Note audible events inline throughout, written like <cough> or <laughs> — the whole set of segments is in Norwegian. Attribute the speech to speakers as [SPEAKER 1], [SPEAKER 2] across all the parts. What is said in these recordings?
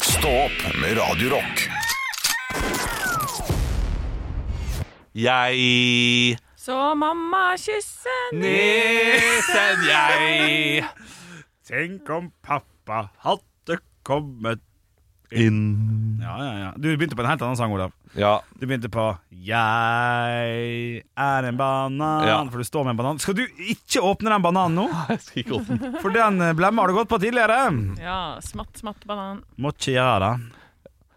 [SPEAKER 1] Stå opp med Radio Rock.
[SPEAKER 2] Jeg
[SPEAKER 3] Så mamma kysser
[SPEAKER 2] Nissen, jeg
[SPEAKER 4] Tenk om pappa hadde kommet inn Ja, ja, ja. Du begynte på en helt annen sang, Olav.
[SPEAKER 2] Ja.
[SPEAKER 4] Du begynte på 'Jeg er en banan',
[SPEAKER 2] Ja.
[SPEAKER 4] for du står med en banan. Skal du ikke åpne den bananen nå?
[SPEAKER 2] <laughs> Jeg skal ikke åpne den.
[SPEAKER 4] For den blemma har du gått på tidligere.
[SPEAKER 3] Ja, smatt, smatt banan.
[SPEAKER 4] Må ikke gjøre det.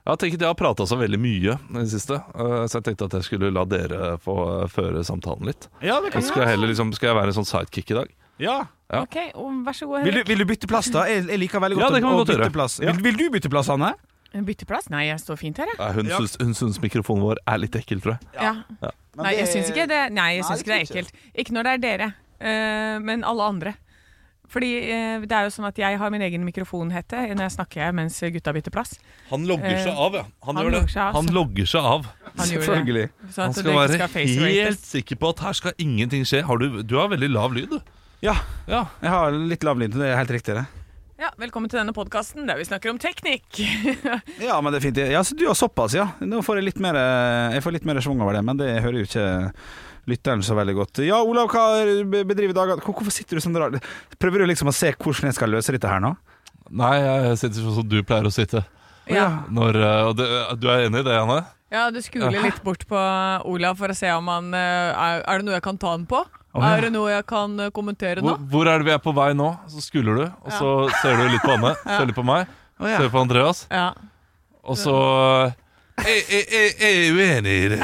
[SPEAKER 2] Jeg har tenkt jeg har prata så veldig mye i det siste, eh, så jeg tenkte at jeg skulle la dere få eh, føre samtalen litt.
[SPEAKER 4] Ja, det
[SPEAKER 2] Og så skal jeg heller liksom, skal jeg være en sånn sidekick i dag?
[SPEAKER 4] Ja.
[SPEAKER 2] Ja.
[SPEAKER 3] Ok, og vær så god,
[SPEAKER 4] Vil, du,
[SPEAKER 3] Henrik.
[SPEAKER 4] vil du bytte plass, da? Jeg, jeg liker veldig
[SPEAKER 2] Ja,
[SPEAKER 4] godt
[SPEAKER 2] det kan vi
[SPEAKER 4] å, å
[SPEAKER 2] godt gjøre.
[SPEAKER 4] bytte plass.
[SPEAKER 2] Ja.
[SPEAKER 4] Vil, vil du bytte plass, Hanne?
[SPEAKER 3] Bytteplass? Nei, jeg står fint her, jeg.
[SPEAKER 2] Nei, Hun,
[SPEAKER 4] Ja.
[SPEAKER 2] syns, hun syns mikrofonen vår er litt ekkel, tror jeg.
[SPEAKER 3] Ja. Nei, jeg syns ikke det, nei, jeg syns ikke det er ekkelt. Ikke når det er dere, eh, men alle andre. Fordi eh, det er jo sånn at jeg har min egen mikrofonhette når jeg snakker jeg mens gutta bytter plass.
[SPEAKER 2] Han
[SPEAKER 3] logger seg
[SPEAKER 2] av, ja. Han,
[SPEAKER 3] gjør det. Eh, logger seg av,
[SPEAKER 2] Han
[SPEAKER 3] så-
[SPEAKER 2] logger seg av.
[SPEAKER 3] Han gjorde det.
[SPEAKER 4] Selvfølgelig.
[SPEAKER 3] Så
[SPEAKER 2] Han
[SPEAKER 3] at
[SPEAKER 2] skal
[SPEAKER 3] dere
[SPEAKER 2] være
[SPEAKER 3] ikke skal
[SPEAKER 2] helt
[SPEAKER 3] face-rates.
[SPEAKER 2] sikker på at her skal ingenting skje. Har du, du har veldig lav lyd, du.
[SPEAKER 4] Ja.
[SPEAKER 2] Ja.
[SPEAKER 4] Jeg har litt lav lyd. Det er helt riktig, det.
[SPEAKER 3] Ja, velkommen til denne podkasten der vi snakker om teknikk. <laughs>
[SPEAKER 4] Ja, men det er fint. Ja, så du har såpass, ja. Nå får jeg litt mer, jeg får litt mer svung over det, men det hører jo ikke lytteren så veldig godt. Ja, Olav, hva bedriver dagene Hvor- Hvorfor sitter du sånn rar? Prøver du liksom å se hvordan jeg skal løse dette her nå?
[SPEAKER 2] Nei, jeg sitter sånn som du pleier å sitte.
[SPEAKER 3] Ja.
[SPEAKER 2] Når, eh, og det, du er enig i det, Anne?
[SPEAKER 3] ja, du skuler litt bort på Olav for å se om han eh, Er er det noe jeg kan ta han på?
[SPEAKER 4] ja.
[SPEAKER 3] Er det noe jeg kan eh, kommentere nå?
[SPEAKER 2] Hvor, hvor er det vi er på vei nå? Så skuler du, og så ser du litt på
[SPEAKER 3] <laughs>
[SPEAKER 2] Anne. Ser litt på meg.
[SPEAKER 4] Å, ja.
[SPEAKER 2] Ser på Andreas.
[SPEAKER 3] Ja.
[SPEAKER 2] Og så eh, jeg, jeg, jeg, jeg er uenig i
[SPEAKER 3] <laughs>
[SPEAKER 2] det.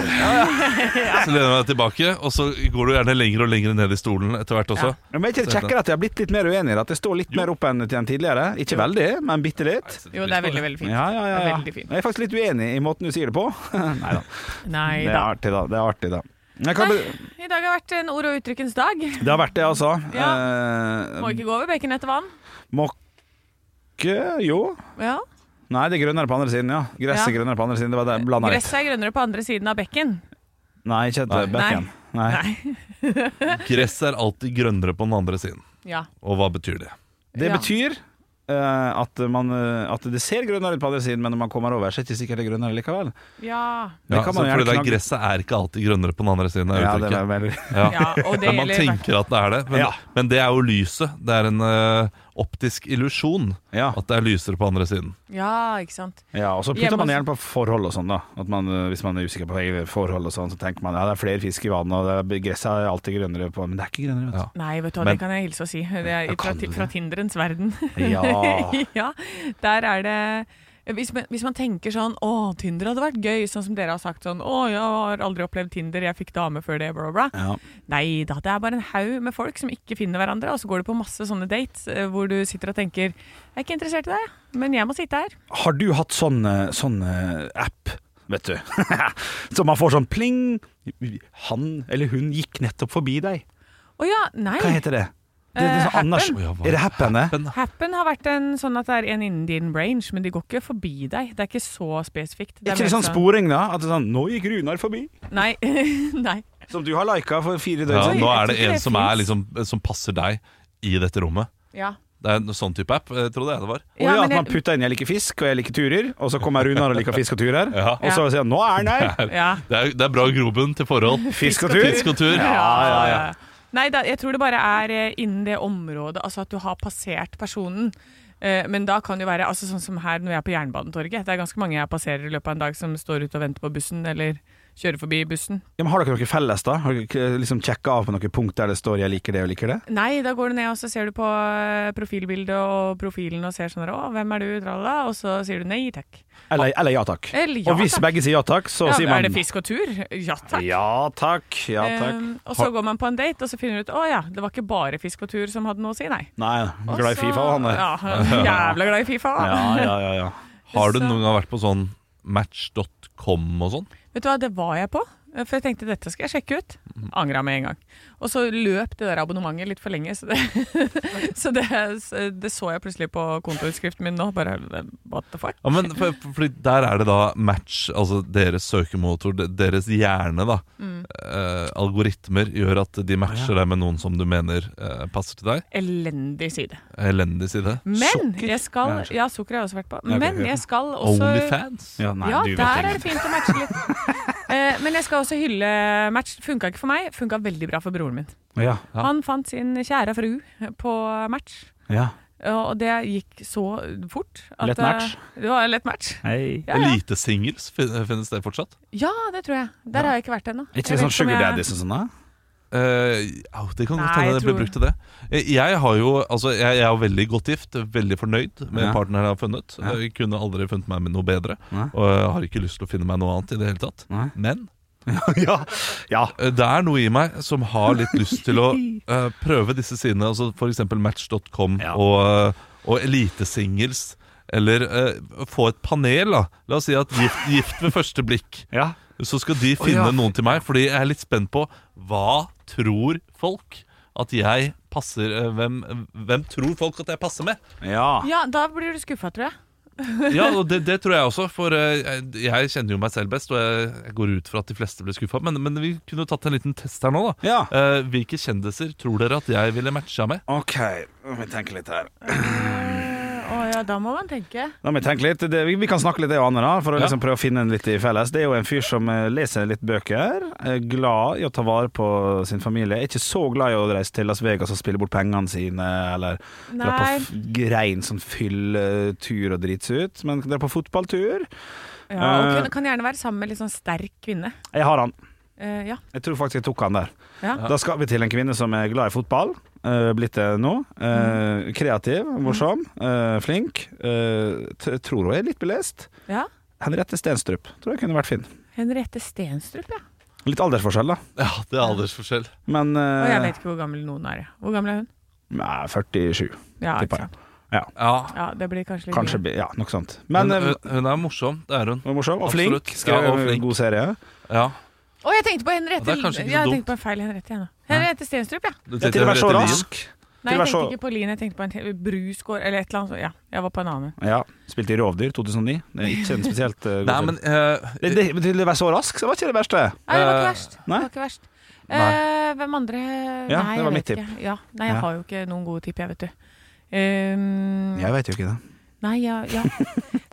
[SPEAKER 2] <laughs> Så lener jeg meg tilbake, og så går du gjerne lenger og lenger ned i stolen etter hvert også.
[SPEAKER 4] Ja, Men er ikke det kjekkere at jeg har blitt litt mer uenig i det? At jeg står litt mer opp enn enn tidligere? Ikke veldig, men bitte litt.
[SPEAKER 3] Jo, det er veldig, veldig fint.
[SPEAKER 4] Ja, ja, ja, ja.
[SPEAKER 3] Det er veldig fint.
[SPEAKER 4] Jeg er faktisk litt uenig i måten du sier det på. Nei da.
[SPEAKER 3] Nei
[SPEAKER 4] Det er
[SPEAKER 3] da.
[SPEAKER 4] artig, da. Det er artig, da. Men hva
[SPEAKER 3] Nei,
[SPEAKER 4] be-
[SPEAKER 3] I dag har vært en ord- og uttrykkens dag.
[SPEAKER 4] Det har vært det, altså.
[SPEAKER 2] Um,
[SPEAKER 3] Må
[SPEAKER 4] Eh,
[SPEAKER 3] ikke gå over bacon etter vann.
[SPEAKER 4] Mokke Jo.
[SPEAKER 3] Ja.
[SPEAKER 4] Nei, det er grønnere på andre siden, ja. Eh, Gresset er
[SPEAKER 3] Ja.
[SPEAKER 4] grønnere på andre siden. Det var det jeg blanda litt.
[SPEAKER 3] Gresset er grønnere på andre siden av bekken.
[SPEAKER 4] Nei, ikke
[SPEAKER 2] Nei.
[SPEAKER 4] etter bacon. Nei.
[SPEAKER 2] Gress er alltid grønnere på den andre siden.
[SPEAKER 3] Ja.
[SPEAKER 2] Og hva betyr det?
[SPEAKER 4] Det
[SPEAKER 3] Ja.
[SPEAKER 4] betyr eh, at, man, eh, at det ser grønnere ut på andre siden, men når man kommer over, så er det ikke sikkert det er grønnere likevel.
[SPEAKER 3] Ja.
[SPEAKER 4] Det
[SPEAKER 2] Ja,
[SPEAKER 4] kan
[SPEAKER 2] så
[SPEAKER 4] man gjerne
[SPEAKER 2] fordi det er
[SPEAKER 4] knagge-
[SPEAKER 2] Gresset er ikke alltid grønnere på den andre siden. Er
[SPEAKER 4] Ja, det
[SPEAKER 2] uttrykket.
[SPEAKER 4] er veldig <laughs>
[SPEAKER 2] Ja.
[SPEAKER 3] ja. Og det
[SPEAKER 2] Men man
[SPEAKER 3] gjelder
[SPEAKER 2] tenker at det er det. Men,
[SPEAKER 4] Ja.
[SPEAKER 2] men det er jo lyset. Det er en eh, optisk illusjon
[SPEAKER 4] Ja,
[SPEAKER 2] at det er lysere på andre siden.
[SPEAKER 3] Ja, ikke sant.
[SPEAKER 4] ja og så
[SPEAKER 3] Hjemme
[SPEAKER 4] putter man
[SPEAKER 3] også.
[SPEAKER 4] gjerne på forhold og sånn, da. At man, eh, hvis man er usikker på eget forhold og sånn, så tenker man ja, det er flere fisk i vannet, og det er, gresset er alltid grønnere på Men det er ikke grønnere, vet du.
[SPEAKER 3] Nei, vet du hva,
[SPEAKER 2] Men-
[SPEAKER 3] det kan jeg hilse og si. Det er fra,
[SPEAKER 2] kan du det?
[SPEAKER 3] fra Tinderens verden.
[SPEAKER 4] Ja.
[SPEAKER 3] <laughs> ja, der er det hvis man, hvis man tenker sånn Å, Tinder hadde vært gøy, sånn som dere har sagt sånn Å, jeg har aldri opplevd Tinder, jeg fikk dame før det, bla, bla.
[SPEAKER 4] Ja.
[SPEAKER 3] Nei da, det er bare en haug med folk som ikke finner hverandre, og så går du på masse sånne dates eh, hvor du sitter og tenker Jeg er ikke interessert i deg, men jeg må sitte her.
[SPEAKER 4] Har du hatt sånn, eh, sånn eh, app, vet du? <laughs> så man får sånn pling Han eller hun gikk nettopp forbi deg.
[SPEAKER 3] Å ja, nei.
[SPEAKER 4] Hva heter det? Det, det er
[SPEAKER 3] Eh,
[SPEAKER 4] sånn Anders
[SPEAKER 2] Happen. Å, ja, hva-
[SPEAKER 4] Er det happen, det?
[SPEAKER 2] Men
[SPEAKER 3] Happen har vært en sånn at det er en innen din range, men de går ikke forbi deg. Det er ikke så spesifikt.
[SPEAKER 4] Er
[SPEAKER 3] er
[SPEAKER 4] ikke det
[SPEAKER 3] mer
[SPEAKER 4] sånn sporing, da? At det er sånn 'Nå gikk Runar forbi'.
[SPEAKER 3] Nei. <laughs> nei.
[SPEAKER 4] Som du har lika for fire døgn
[SPEAKER 2] ja,
[SPEAKER 4] siden.
[SPEAKER 2] nå
[SPEAKER 3] jeg
[SPEAKER 2] er det
[SPEAKER 3] tror ikke
[SPEAKER 2] en
[SPEAKER 3] det
[SPEAKER 2] som, er,
[SPEAKER 3] finnes.
[SPEAKER 2] liksom, som passer deg i dette rommet.
[SPEAKER 3] Ja.
[SPEAKER 2] Det er en sånn type app, eh, trodde jeg det var.
[SPEAKER 4] Og ja,
[SPEAKER 3] men
[SPEAKER 4] at man
[SPEAKER 3] jeg-
[SPEAKER 4] putter inn 'jeg liker fisk', og 'jeg liker turer', og så kommer Runar og liker fisk og turer.
[SPEAKER 2] Ja.
[SPEAKER 4] Og så sier han 'nå er han her'.
[SPEAKER 3] ja.
[SPEAKER 2] Det er, det er bra grobunn til forhold.
[SPEAKER 4] <laughs> Fisk og tur.
[SPEAKER 2] Fisk og tur.
[SPEAKER 4] Ja, ja, ja.
[SPEAKER 3] Nei, da, jeg tror det bare er eh, innen det området, altså at du har passert personen. Eh, Men da kan det jo være altså sånn som her når jeg er på Jernbanetorget. Det er ganske mange jeg passerer i løpet av en dag som står ute og venter på bussen, eller kjører forbi bussen.
[SPEAKER 4] Ja, men har dere noe felles, da? Har dere ikke liksom sjekka av på noen punkt der det står 'jeg liker det' og 'liker det'?
[SPEAKER 3] Nei, da går du ned og så ser du på eh, profilbildet og profilen og ser sånn her, Å, hvem er du? Tralala. Og så sier du nei takk.
[SPEAKER 4] Eller, eller ja takk.
[SPEAKER 3] Eller Eh, ja
[SPEAKER 4] og hvis
[SPEAKER 3] takk.
[SPEAKER 4] begge sier ja takk, så
[SPEAKER 3] Ja,
[SPEAKER 4] sier man
[SPEAKER 3] er det fisk og tur? Ja takk.
[SPEAKER 4] Ja takk. Ja takk.
[SPEAKER 3] Eh, og så går man på en date, og så finner du ut å ja, det var ikke bare fisk og tur som hadde noe å si, nei.
[SPEAKER 4] Nei, glad i
[SPEAKER 3] Og så-
[SPEAKER 4] Fifa, han der.
[SPEAKER 3] Ja, <laughs> jævla glad i Fifa.
[SPEAKER 4] Ja, ja, ja. ja.
[SPEAKER 2] Har du noen gang vært på sånn match.com og sånn?
[SPEAKER 3] Vet du hva, det var jeg på. For jeg tenkte dette skal jeg sjekke ut.
[SPEAKER 4] Mm.
[SPEAKER 3] Angra med en gang. Og så løp det der abonnementet litt for lenge, så det, <laughs> så det, det så jeg plutselig på kontoutskriften min nå. Bare what the fuck?
[SPEAKER 2] Ja, men for, for, fordi der er det da match, altså deres søkemotor, de- deres hjerne, da.
[SPEAKER 3] Mm.
[SPEAKER 2] Eh, algoritmer gjør at de matcher deg med noen som du mener eh, passer til deg.
[SPEAKER 3] Elendig side.
[SPEAKER 2] Elendig side.
[SPEAKER 3] Men
[SPEAKER 4] Sukker?
[SPEAKER 3] jeg skal
[SPEAKER 4] Ja, sukker.
[SPEAKER 3] Ja, sukker har jeg også vært på.
[SPEAKER 4] ok,
[SPEAKER 3] Men
[SPEAKER 4] ja.
[SPEAKER 3] jeg skal også
[SPEAKER 2] Onlyfans?
[SPEAKER 4] Ja, nei,
[SPEAKER 3] ja,
[SPEAKER 4] du vet
[SPEAKER 3] der
[SPEAKER 4] ikke.
[SPEAKER 3] er det fint å matche
[SPEAKER 4] <laughs>
[SPEAKER 3] litt. Eh, Men jeg skal også hylle match. Funka ikke for meg, funka veldig bra for broren min.
[SPEAKER 4] Ja,
[SPEAKER 2] Ja.
[SPEAKER 3] Han fant sin kjære fru på match.
[SPEAKER 4] ja.
[SPEAKER 3] Og det gikk så fort. at,
[SPEAKER 4] Lett match.
[SPEAKER 3] eh, Det var en lett match.
[SPEAKER 4] Hei.
[SPEAKER 3] Ja, ja.
[SPEAKER 2] Elitesingles, fin- finnes det fortsatt?
[SPEAKER 3] ja, det tror jeg. Der har jeg ikke vært ennå.
[SPEAKER 4] Er ikke
[SPEAKER 3] Jeg
[SPEAKER 4] det sånn
[SPEAKER 3] vet ikke om
[SPEAKER 4] Sugar
[SPEAKER 3] jeg-
[SPEAKER 4] Daddies og sånn? da?
[SPEAKER 2] Eh, au, det kan
[SPEAKER 3] Nei,
[SPEAKER 2] godt hende
[SPEAKER 3] jeg
[SPEAKER 2] det blir
[SPEAKER 3] tror-
[SPEAKER 2] brukt til det. Eh, Jeg, har jo, altså, jeg, jeg er jo veldig godt gift, veldig fornøyd med
[SPEAKER 4] Ja.
[SPEAKER 2] partneren jeg har funnet.
[SPEAKER 4] Ja.
[SPEAKER 2] Jeg kunne aldri funnet meg med noe bedre,
[SPEAKER 4] Nei.
[SPEAKER 2] og jeg har ikke lyst til å finne meg noe annet i det hele tatt.
[SPEAKER 4] Nei.
[SPEAKER 2] Men
[SPEAKER 4] <laughs> ja. ja.
[SPEAKER 2] eh, det er noe i meg som har litt lyst til
[SPEAKER 4] <laughs>
[SPEAKER 2] å eh, prøve disse sidene, altså f.eks. match.com
[SPEAKER 4] Ja.
[SPEAKER 2] og, eh, og elitesingles. Eller eh, få et panel, da. La oss si at gift, gift ved første blikk.
[SPEAKER 4] ja.
[SPEAKER 2] Så skal de finne
[SPEAKER 4] ja.
[SPEAKER 2] noen til meg, fordi jeg er litt spent på hva tror folk at jeg passer eh, Hvem, hvem tror folk at jeg passer med?
[SPEAKER 4] <laughs> ja.
[SPEAKER 3] Ja, da blir du skuffa, tror jeg.
[SPEAKER 2] Ja, og det, det tror jeg også, for eh, jeg jeg kjenner jo meg selv best, og jeg, jeg går ut fra at de fleste blir skuffa. Men, men vi kunne jo tatt en liten test her nå, da.
[SPEAKER 4] Ja.
[SPEAKER 2] Eh, hvilke kjendiser tror dere at jeg ville matcha med?
[SPEAKER 4] OK, må vi tenke litt her.
[SPEAKER 3] Å ja, da må man tenke.
[SPEAKER 4] Da må jeg tenke litt. Det, vi, vi kan snakke litt det og Anne, da, for å
[SPEAKER 2] Ja.
[SPEAKER 4] liksom prøve å finne en litt i felles. Det er jo en fyr som eh, leser litt bøker, er glad i å ta vare på sin familie. Er ikke så glad i å reise til Las Vegas og spille bort pengene sine, eller dra på
[SPEAKER 3] Nei.
[SPEAKER 4] f rein sånn fylletur og drite seg ut, men dra på fotballtur.
[SPEAKER 3] Ja, og
[SPEAKER 4] Eh.
[SPEAKER 3] kunne, kan gjerne være sammen med litt sånn sterk kvinne.
[SPEAKER 4] Jeg har han.
[SPEAKER 3] Eh, ja.
[SPEAKER 4] Jeg tror faktisk jeg tok han der.
[SPEAKER 3] Ja.
[SPEAKER 4] Da skal vi til en kvinne som er glad i fotball. eh, blitt det nå.
[SPEAKER 3] Mm.
[SPEAKER 4] Eh, kreativ, morsom, eh, flink. Eh, t tror hun er litt belest.
[SPEAKER 3] ja.
[SPEAKER 4] Henriette Stenstrup tror jeg kunne vært fin.
[SPEAKER 3] Henriette Stenstrup, ja.
[SPEAKER 4] Litt aldersforskjell, da.
[SPEAKER 2] Ja, det er aldersforskjell.
[SPEAKER 4] Men eh,
[SPEAKER 3] Og jeg vet ikke hvor gammel noen er. jeg. Hvor gammel er hun?
[SPEAKER 4] Nei, 47,
[SPEAKER 3] Ja, ikke
[SPEAKER 4] tipper jeg.
[SPEAKER 3] sant.
[SPEAKER 2] Ja.
[SPEAKER 3] ja det blir kanskje litt
[SPEAKER 4] Kanskje, bi- ja, noe sånt. Men
[SPEAKER 2] Men
[SPEAKER 4] eh,
[SPEAKER 2] hun, hun er morsom, det er hun.
[SPEAKER 4] hun er morsom og
[SPEAKER 2] absolutt.
[SPEAKER 4] flink. Skrev
[SPEAKER 2] Ja, og
[SPEAKER 4] en
[SPEAKER 2] flink.
[SPEAKER 4] god serie.
[SPEAKER 2] Ja.
[SPEAKER 3] Å, jeg tenkte på Henriette
[SPEAKER 2] Ja, det er kanskje ikke så
[SPEAKER 3] Ja, jeg
[SPEAKER 2] dumt.
[SPEAKER 3] tenkte på en feil Henriette igjen. nå. Henriette Stenstrup, ja.
[SPEAKER 2] Du
[SPEAKER 4] Ja,
[SPEAKER 2] tenkte
[SPEAKER 4] til å være så
[SPEAKER 2] Henriette Lien?
[SPEAKER 4] rask.
[SPEAKER 3] Nei,
[SPEAKER 4] Til å
[SPEAKER 3] jeg
[SPEAKER 4] være så-
[SPEAKER 3] tenkte ikke på Lien, jeg tenkte på en he- Brusgård eller et eller annet. sånt. Ja, jeg var på en annen.
[SPEAKER 4] Ja, Spilte i Rovdyr 2009. Det er ikke en spesielt eh, god
[SPEAKER 2] Nei,
[SPEAKER 4] film.
[SPEAKER 2] men eh,
[SPEAKER 4] det, det, men Til å være så rask, så var ikke det verste.
[SPEAKER 3] Nei, det var
[SPEAKER 2] Eh,
[SPEAKER 3] ikke verst. Det
[SPEAKER 4] nei.
[SPEAKER 3] var ikke verst.
[SPEAKER 4] Nei.
[SPEAKER 3] Eh, hvem andre
[SPEAKER 4] Ja,
[SPEAKER 3] Nei,
[SPEAKER 4] det var
[SPEAKER 3] jeg
[SPEAKER 4] mitt
[SPEAKER 3] vet
[SPEAKER 4] tipp.
[SPEAKER 3] Ikke. Ja, nei, jeg
[SPEAKER 4] Ja.
[SPEAKER 3] har jo ikke noen gode tipp, jeg, vet du. Ehm,
[SPEAKER 4] Jeg vet jo ikke det.
[SPEAKER 3] Nei, ja,
[SPEAKER 4] <laughs>
[SPEAKER 3] ja.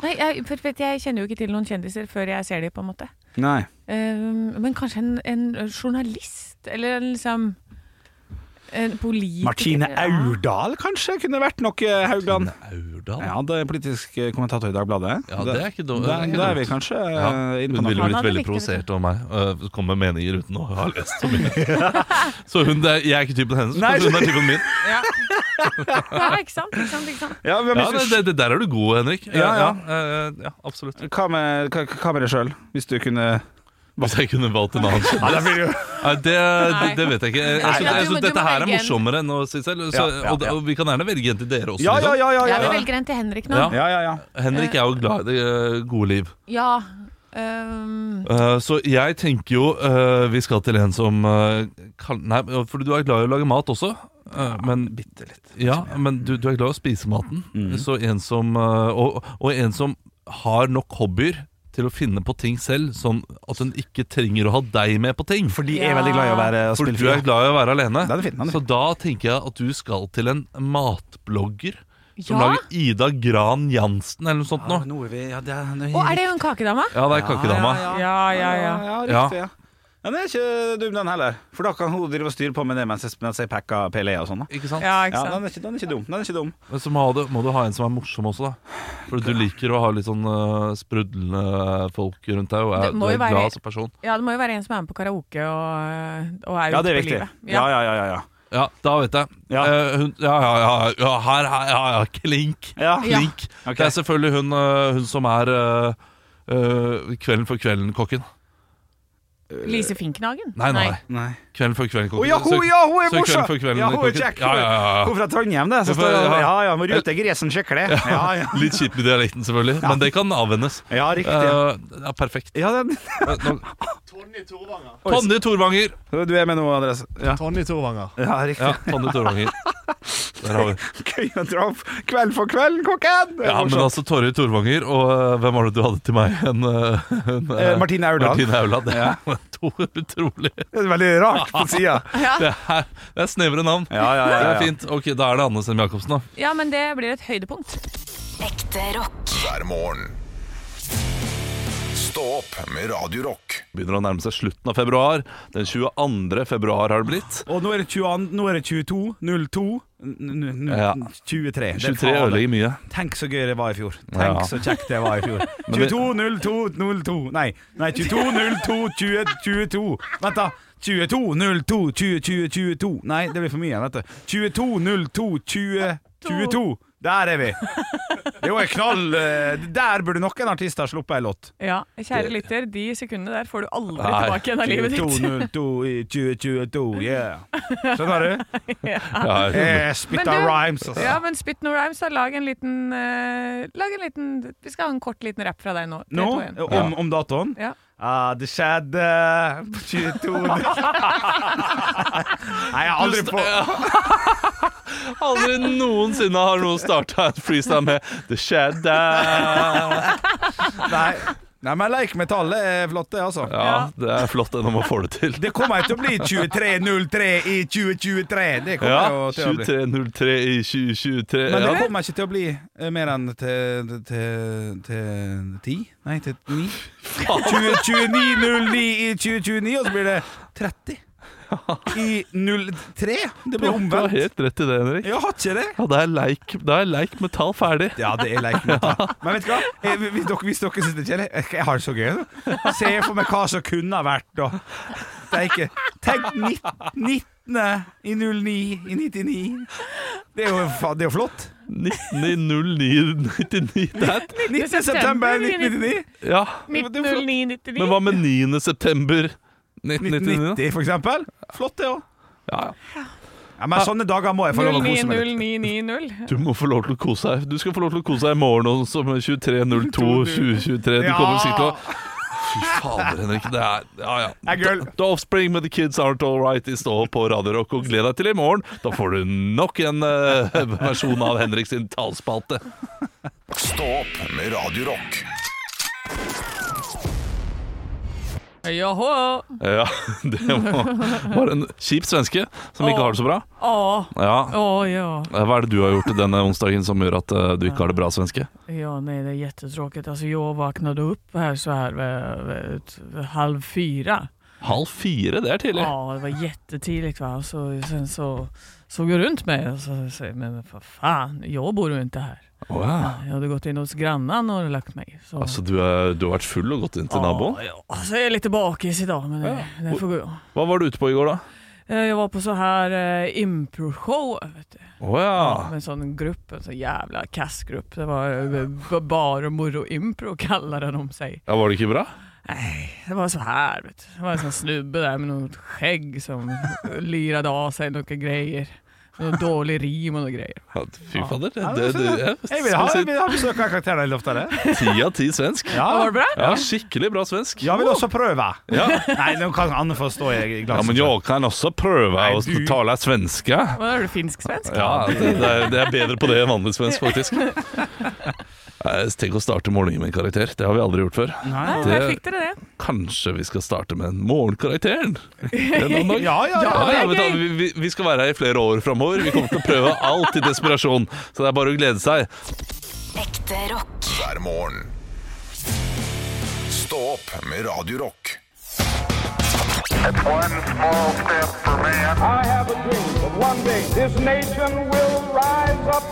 [SPEAKER 3] nei jeg, for, vet, du, jeg kjenner jo ikke til noen kjendiser før jeg ser dem, på en måte.
[SPEAKER 4] Nei.
[SPEAKER 3] Ehm, men kanskje en, en journalist, eller en liksom en politiker
[SPEAKER 4] Martine
[SPEAKER 3] Ja.
[SPEAKER 4] Aurdal kanskje kunne vært noe, eh, Haugland.
[SPEAKER 2] Aurdal?
[SPEAKER 4] Ja, det er politisk eh, kommentator i Dagbladet.
[SPEAKER 2] Ja, det er ikke dumt.
[SPEAKER 4] Da, da er vi kanskje eh,
[SPEAKER 2] Ja.
[SPEAKER 4] inne
[SPEAKER 2] Hun
[SPEAKER 4] på
[SPEAKER 2] ville
[SPEAKER 4] noe.
[SPEAKER 2] blitt
[SPEAKER 3] Han hadde
[SPEAKER 2] veldig
[SPEAKER 3] likt det, vet
[SPEAKER 2] provosert av meg. øh, Kom med meninger uten å ha lest så mye. Så hun, det er, jeg er ikke typen hennes,
[SPEAKER 4] Nei,
[SPEAKER 2] men hun er typen min.
[SPEAKER 3] Ja, ikke sant? Ikke sant, ikke sant?
[SPEAKER 4] Ja, hvem
[SPEAKER 2] Ja,
[SPEAKER 4] er-
[SPEAKER 2] det, det, der er du god, Henrik. Eh,
[SPEAKER 4] Ja, ja.
[SPEAKER 2] eh, ja, absolutt.
[SPEAKER 4] hva, med, hva, hva med deg sjøl, hvis du kunne
[SPEAKER 2] Hvis jeg kunne valgt en annen kjendis.
[SPEAKER 4] ja, det blir jo
[SPEAKER 2] Nei, det,
[SPEAKER 3] Nei.
[SPEAKER 2] det vet jeg ikke. Jeg, jeg,
[SPEAKER 3] Nei.
[SPEAKER 2] syns- jeg
[SPEAKER 3] Du må-
[SPEAKER 2] syns
[SPEAKER 3] du må
[SPEAKER 2] dette her er
[SPEAKER 3] velge en.
[SPEAKER 2] morsommere enn å si selv. Så,
[SPEAKER 4] Ja, ja,
[SPEAKER 2] og, det-
[SPEAKER 4] ja.
[SPEAKER 2] og vi kan gjerne velge en til dere også.
[SPEAKER 4] Ja, ja,
[SPEAKER 2] liksom.
[SPEAKER 4] ja. ja,
[SPEAKER 3] Ja,
[SPEAKER 4] ja,
[SPEAKER 3] vi
[SPEAKER 4] ja.
[SPEAKER 3] velger en til Henrik nå.
[SPEAKER 2] Ja.
[SPEAKER 4] ja, ja, ja.
[SPEAKER 2] Henrik er jo glad i det eh, gode liv.
[SPEAKER 3] Ja. ehm,
[SPEAKER 2] Eh, så jeg tenker jo eh, vi skal til en som eh, kan, Nei, for du er glad i å lage mat også. eh, men
[SPEAKER 4] Bitte litt. Mm.
[SPEAKER 2] Ja, men du, du er glad i å spise maten. Så en som, øh, og, og en som har nok hobbyer til å finne på ting selv, sånn at hun ikke trenger å ha deg med på ting.
[SPEAKER 4] Fordi
[SPEAKER 3] jeg er veldig glad i å være-
[SPEAKER 2] For du er glad i å være alene.
[SPEAKER 4] Den er fin, den er
[SPEAKER 2] Så da tenker jeg at du skal til en matblogger som
[SPEAKER 3] ja.
[SPEAKER 2] lager Ida Gran Jansen eller noe sånt noe.
[SPEAKER 4] er vi ja, det er,
[SPEAKER 3] Å, er det hun kakedama?
[SPEAKER 2] Ja, det er kakedama.
[SPEAKER 4] Ja,
[SPEAKER 3] Ja, ja, ja.
[SPEAKER 4] ja, riktig. Ja. Ja, Den er ikke dum, den heller. For da kan hun drive og styre på med det mens jeg, mens jeg packer PLE og sånn. da.
[SPEAKER 2] Ikke sant?
[SPEAKER 3] Ja,
[SPEAKER 4] Ja,
[SPEAKER 3] ikke sant?
[SPEAKER 4] den er ikke, den er ikke dum. Den er ikke dum.
[SPEAKER 2] Men så må du, må du ha en som er morsom også, da. For du liker å ha litt sånn øh, sprudlende folk rundt deg, og er,
[SPEAKER 3] Det
[SPEAKER 2] du
[SPEAKER 3] må
[SPEAKER 2] er
[SPEAKER 3] jo være-
[SPEAKER 2] glad som person.
[SPEAKER 3] Ja, det må jo være en som er med på karaoke og, og er ute
[SPEAKER 4] Ja, det er
[SPEAKER 3] på E?
[SPEAKER 4] viktig.
[SPEAKER 3] livet.
[SPEAKER 4] Ja, ja, ja. ja, ja.
[SPEAKER 2] Ja, da vet jeg.
[SPEAKER 4] Ja.
[SPEAKER 2] Eh, hun, ja, ja, ja, ja, her, her, ja, ja, klink.
[SPEAKER 4] Ja.
[SPEAKER 3] Ja.
[SPEAKER 2] klink.
[SPEAKER 4] Ok.
[SPEAKER 2] Det er selvfølgelig hun, eh, hun som er eh, eh, Kvelden for kvelden-kokken.
[SPEAKER 3] Lise Finknagen?
[SPEAKER 2] Nei, nei.
[SPEAKER 4] Nei.
[SPEAKER 2] Kvelden før kvelden.
[SPEAKER 4] Å ja, hun, ja, hun er
[SPEAKER 2] så
[SPEAKER 4] morsom!
[SPEAKER 2] Kvelden før kvelden.
[SPEAKER 4] Ja, hun er
[SPEAKER 2] kokken.
[SPEAKER 4] kjekk.
[SPEAKER 2] Ja, ja, ja, ja.
[SPEAKER 4] Hun er fra Trondheim, det. Så
[SPEAKER 2] Ja, for-
[SPEAKER 4] står det
[SPEAKER 2] ja.
[SPEAKER 4] ja, ja, må rute gresen skikkelig. Ja, ja.
[SPEAKER 2] Litt kjip med dialekten, selvfølgelig, men det kan avvennes.
[SPEAKER 4] ja, riktig. Ja.
[SPEAKER 2] Eh, ja,
[SPEAKER 4] <laughs>
[SPEAKER 2] perfekt.
[SPEAKER 4] Ja, det,
[SPEAKER 2] Eh, nå-
[SPEAKER 5] Tonje Torvanger.
[SPEAKER 2] Tonje Torvanger!
[SPEAKER 4] du er med nå, Andres. Ja,
[SPEAKER 5] Tonje Torvanger.
[SPEAKER 4] ja riktig.
[SPEAKER 2] Ja, Tonje Torvanger. Der har vi.
[SPEAKER 4] <laughs> Gøy å dra opp kveld for kveld, kokken! Det er
[SPEAKER 2] Ja, men
[SPEAKER 4] morsomt.
[SPEAKER 2] altså Torje Torvanger, og eh, hvem var det du hadde til meg? En, eh, en, eh,
[SPEAKER 4] Eh, Martine Aurdal.
[SPEAKER 2] Martine Aulad. Det er <laughs> to utrolig
[SPEAKER 4] Det er veldig rart på sida.
[SPEAKER 2] Det er, det er snevre navn.
[SPEAKER 4] Ja, ja, ja,
[SPEAKER 2] Det
[SPEAKER 4] ja.
[SPEAKER 2] er fint. Ok, Da er det Anne Sem Jacobsen, da.
[SPEAKER 3] Ja, men det blir et høydepunkt.
[SPEAKER 6] Ekte rock.
[SPEAKER 1] hver morgen. Stå opp med Radio Rock.
[SPEAKER 2] Begynner å nærme seg slutten av februar. Den 22. februar har det blitt.
[SPEAKER 4] Og nå er det 22, nå er det 22 02 n- n-
[SPEAKER 2] Ja.
[SPEAKER 4] 23. Det er
[SPEAKER 2] 23
[SPEAKER 4] faen.
[SPEAKER 2] ødelegger mye.
[SPEAKER 4] Tenk så gøy det var i fjor. Tenk
[SPEAKER 2] Ja.
[SPEAKER 4] så kjekt det var i fjor.
[SPEAKER 2] <laughs> Men det-
[SPEAKER 4] 22 02 02 Nei, nei 22 02 20 22. Vent, da. 22 02 20 20 22. Nei, det blir for mye. Vent, da. 22 02 20 22. Der er vi. Det var en knall eh, Der burde noen artister ha sluppet ei låt.
[SPEAKER 3] Ja, Kjære lytter, de sekundene der får du aldri
[SPEAKER 2] Nei.
[SPEAKER 3] tilbake igjen av livet ditt. <laughs>
[SPEAKER 4] 22 i 2022, yeah. Skjønner du?
[SPEAKER 2] Ja,
[SPEAKER 4] Eh,
[SPEAKER 3] Men
[SPEAKER 4] Spytta
[SPEAKER 3] du-
[SPEAKER 4] rhymes, altså.
[SPEAKER 3] Ja, men spit no rhymes, da. Lag en liten, eh, lag en liten Vi skal ha en kort liten rapp fra deg nå. Tre,
[SPEAKER 4] Nå,
[SPEAKER 3] to, en.
[SPEAKER 4] om, om datoen.
[SPEAKER 3] Ja.
[SPEAKER 4] Ah, det skjedde på
[SPEAKER 2] <laughs>
[SPEAKER 4] 22 Nei, jeg har aldri på
[SPEAKER 2] Aldri noensinne har noen starta en freestyle med 'Det skjedde'.
[SPEAKER 4] Nei, Nei men leik med tallet er flott, det, altså.
[SPEAKER 2] Ja, det er flott enn om å få det til.
[SPEAKER 4] Det kommer til å bli 23.03 i 2023. Det kommer
[SPEAKER 2] Ja,
[SPEAKER 4] jo til å bli.
[SPEAKER 2] 23.03 i 2023.
[SPEAKER 4] Men det
[SPEAKER 2] Ja.
[SPEAKER 4] kommer ikke til å bli eh, mer enn til til til ti? Nei, til ni? 20 29.09 i 2029, og så blir det 30 i 03. Det
[SPEAKER 2] Du
[SPEAKER 4] blir
[SPEAKER 2] har
[SPEAKER 4] omvendt.
[SPEAKER 2] helt rett i det, Henrik.
[SPEAKER 4] Jeg har ikke det.
[SPEAKER 2] Ja, da er leik, da er leik med tall ferdig.
[SPEAKER 4] Ja, det er leik med tall. Men vet du hva? Jeg, hvis dere, hvis dere syns det er kjedelig jeg- Jeg har det så gøy. nå. Se for meg hva som kunne ha vært, da. Det er ikke Tenk nitt- 19. i 09 i 99. Det er jo, faen, det er jo flott.
[SPEAKER 2] 19 i 0999. Det er et-
[SPEAKER 4] 19. september 1999.
[SPEAKER 2] Ja.
[SPEAKER 4] det er flott.
[SPEAKER 3] 1909
[SPEAKER 2] Men hva med 9. september 1999? da?
[SPEAKER 4] 1990, for eksempel. Flott, det òg.
[SPEAKER 2] Ja, ja.
[SPEAKER 4] Ja, men sånne dager må jeg få lov å kose meg litt.
[SPEAKER 3] 09090.
[SPEAKER 2] Du må få lov til å kose deg. Du skal få lov til å kose deg i morgen også, som 23.02.2023. Du kommer sikkert til å Fy fader, Henrik. Det er Ja, ja.
[SPEAKER 4] Nei, girl.
[SPEAKER 2] The Offspring med The Kids Aren't All Right i stå på Radio Rock, og gled deg til i morgen. Da får du nok en eh, <laughs> versjon av Henrik sin talspalte.
[SPEAKER 1] Stå opp med Radio Rock.
[SPEAKER 3] Joho!
[SPEAKER 2] Ja, <laughs> det var, var en kjip svenske som ikke har det så bra.
[SPEAKER 3] Å,
[SPEAKER 2] Ja.
[SPEAKER 3] å ja.
[SPEAKER 2] Hva er det du har gjort denne onsdagen som gjør at eh, du ikke har det bra, svenske?
[SPEAKER 3] Ja, nej, det Altså, är jättetråkigt. Alltså, jag vaknade upp här så här eh, ett- halv fyra.
[SPEAKER 2] Halv fire, det er tidlig.
[SPEAKER 3] Ja, det var jättetidigt. Va? Så, sen så såg jag runt mig och så säger jag, men vad fan, jag bor ju inte här.
[SPEAKER 2] Wow.
[SPEAKER 3] Jag hade gått in hos grannen och lagt mig. Så,
[SPEAKER 2] Altså, du, er, du har vært full og gått inn til naboen?
[SPEAKER 3] Ja, ja. Så jag är lite bakis idag, men det, det får gå.
[SPEAKER 2] Hva var du ute på i går, da?
[SPEAKER 3] Eh, Jag var på så här eh, impro-show. Vet du.
[SPEAKER 2] Å ja.
[SPEAKER 3] Med en sån grupp, en sån jävla kassgrupp. Det var eh, bar och morro impro <laughs> kallade de sig.
[SPEAKER 2] ja. Var det ikke bra?
[SPEAKER 3] Det var så här, vet du. Det var en sån snubbe där med något skägg som lirade av sig några grejer. Någon dårlig rim och några grejer.
[SPEAKER 2] Ja, Fy fader. Det,
[SPEAKER 4] Ja,
[SPEAKER 2] det,
[SPEAKER 4] men
[SPEAKER 2] det,
[SPEAKER 4] så- Jeg vil ha, jeg vil ha besøk av karakterene litt oftere.
[SPEAKER 2] ti av ti svensk.
[SPEAKER 3] Var
[SPEAKER 4] Ja,
[SPEAKER 3] det bra?
[SPEAKER 2] Ja, skikkelig bra svensk.
[SPEAKER 4] jeg vil også prøve.
[SPEAKER 2] Ja.
[SPEAKER 4] Nei, nå kan Anne få stå i i
[SPEAKER 2] Ja,
[SPEAKER 4] glasset.
[SPEAKER 2] men jeg kan også prøve å
[SPEAKER 4] du-
[SPEAKER 2] tale svenske.
[SPEAKER 3] Var det finsk-svensk?
[SPEAKER 2] Ja, det, det, er, det er bedre på det enn vanlig svensk,
[SPEAKER 3] <laughs>
[SPEAKER 2] faktisk. Nei, Tenk å starte morgenen med en karakter. Det har vi aldri gjort før.
[SPEAKER 3] Ja,
[SPEAKER 4] Nei.
[SPEAKER 2] det-
[SPEAKER 3] jag fick det det.
[SPEAKER 2] Kanskje vi skal starte med morgenkarakteren? En annen dag?
[SPEAKER 4] <laughs> Ja, ja, ja.
[SPEAKER 2] Ja, ja,
[SPEAKER 3] det er
[SPEAKER 2] vet du,
[SPEAKER 3] gøy.
[SPEAKER 2] vi, vi, vi skal være her i flere år framover. Vi kommer til å prøve alt i desperasjon. Så det er bare å glede seg.
[SPEAKER 6] Ekte rock.
[SPEAKER 1] hver morgen. Stå opp med Radio Rock.
[SPEAKER 7] One small step for man. I have a dream that one day this nation will rise up.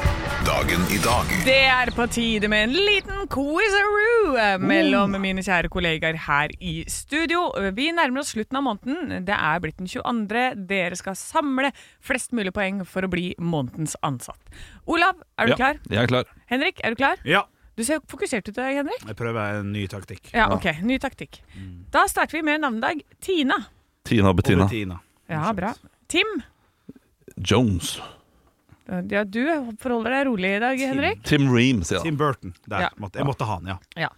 [SPEAKER 1] Dagen i dag
[SPEAKER 3] Det er på tide med en liten quizaroo
[SPEAKER 2] Oh.
[SPEAKER 3] eh, mellom mine kjære kollegaer her i studio. Vi nærmer oss slutten av måneden. Det er blitt den 22. Dere skal samle flest mulig poeng for å bli månedens ansatt. Olav, er du
[SPEAKER 2] Ja,
[SPEAKER 3] klar?
[SPEAKER 2] jeg er klar.
[SPEAKER 3] Henrik, er du klar?
[SPEAKER 4] Ja.
[SPEAKER 3] Du ser fokusert ut i dag, Henrik.
[SPEAKER 4] Jeg prøver en ny taktikk.
[SPEAKER 3] Ja, ok. Ny taktikk.
[SPEAKER 2] Mm.
[SPEAKER 3] Da starter vi med navnedag. Tina.
[SPEAKER 2] Tina og Bettina.
[SPEAKER 4] Bettina.
[SPEAKER 3] Ja, bra. Tim.
[SPEAKER 2] Jones.
[SPEAKER 3] Ja, du forholder deg rolig i dag, Henrik.
[SPEAKER 2] Tim Ream, sier han.
[SPEAKER 4] Tim Burton. Der.
[SPEAKER 3] Ja.
[SPEAKER 4] Måtte, jeg måtte ha han, ja.
[SPEAKER 3] Ja.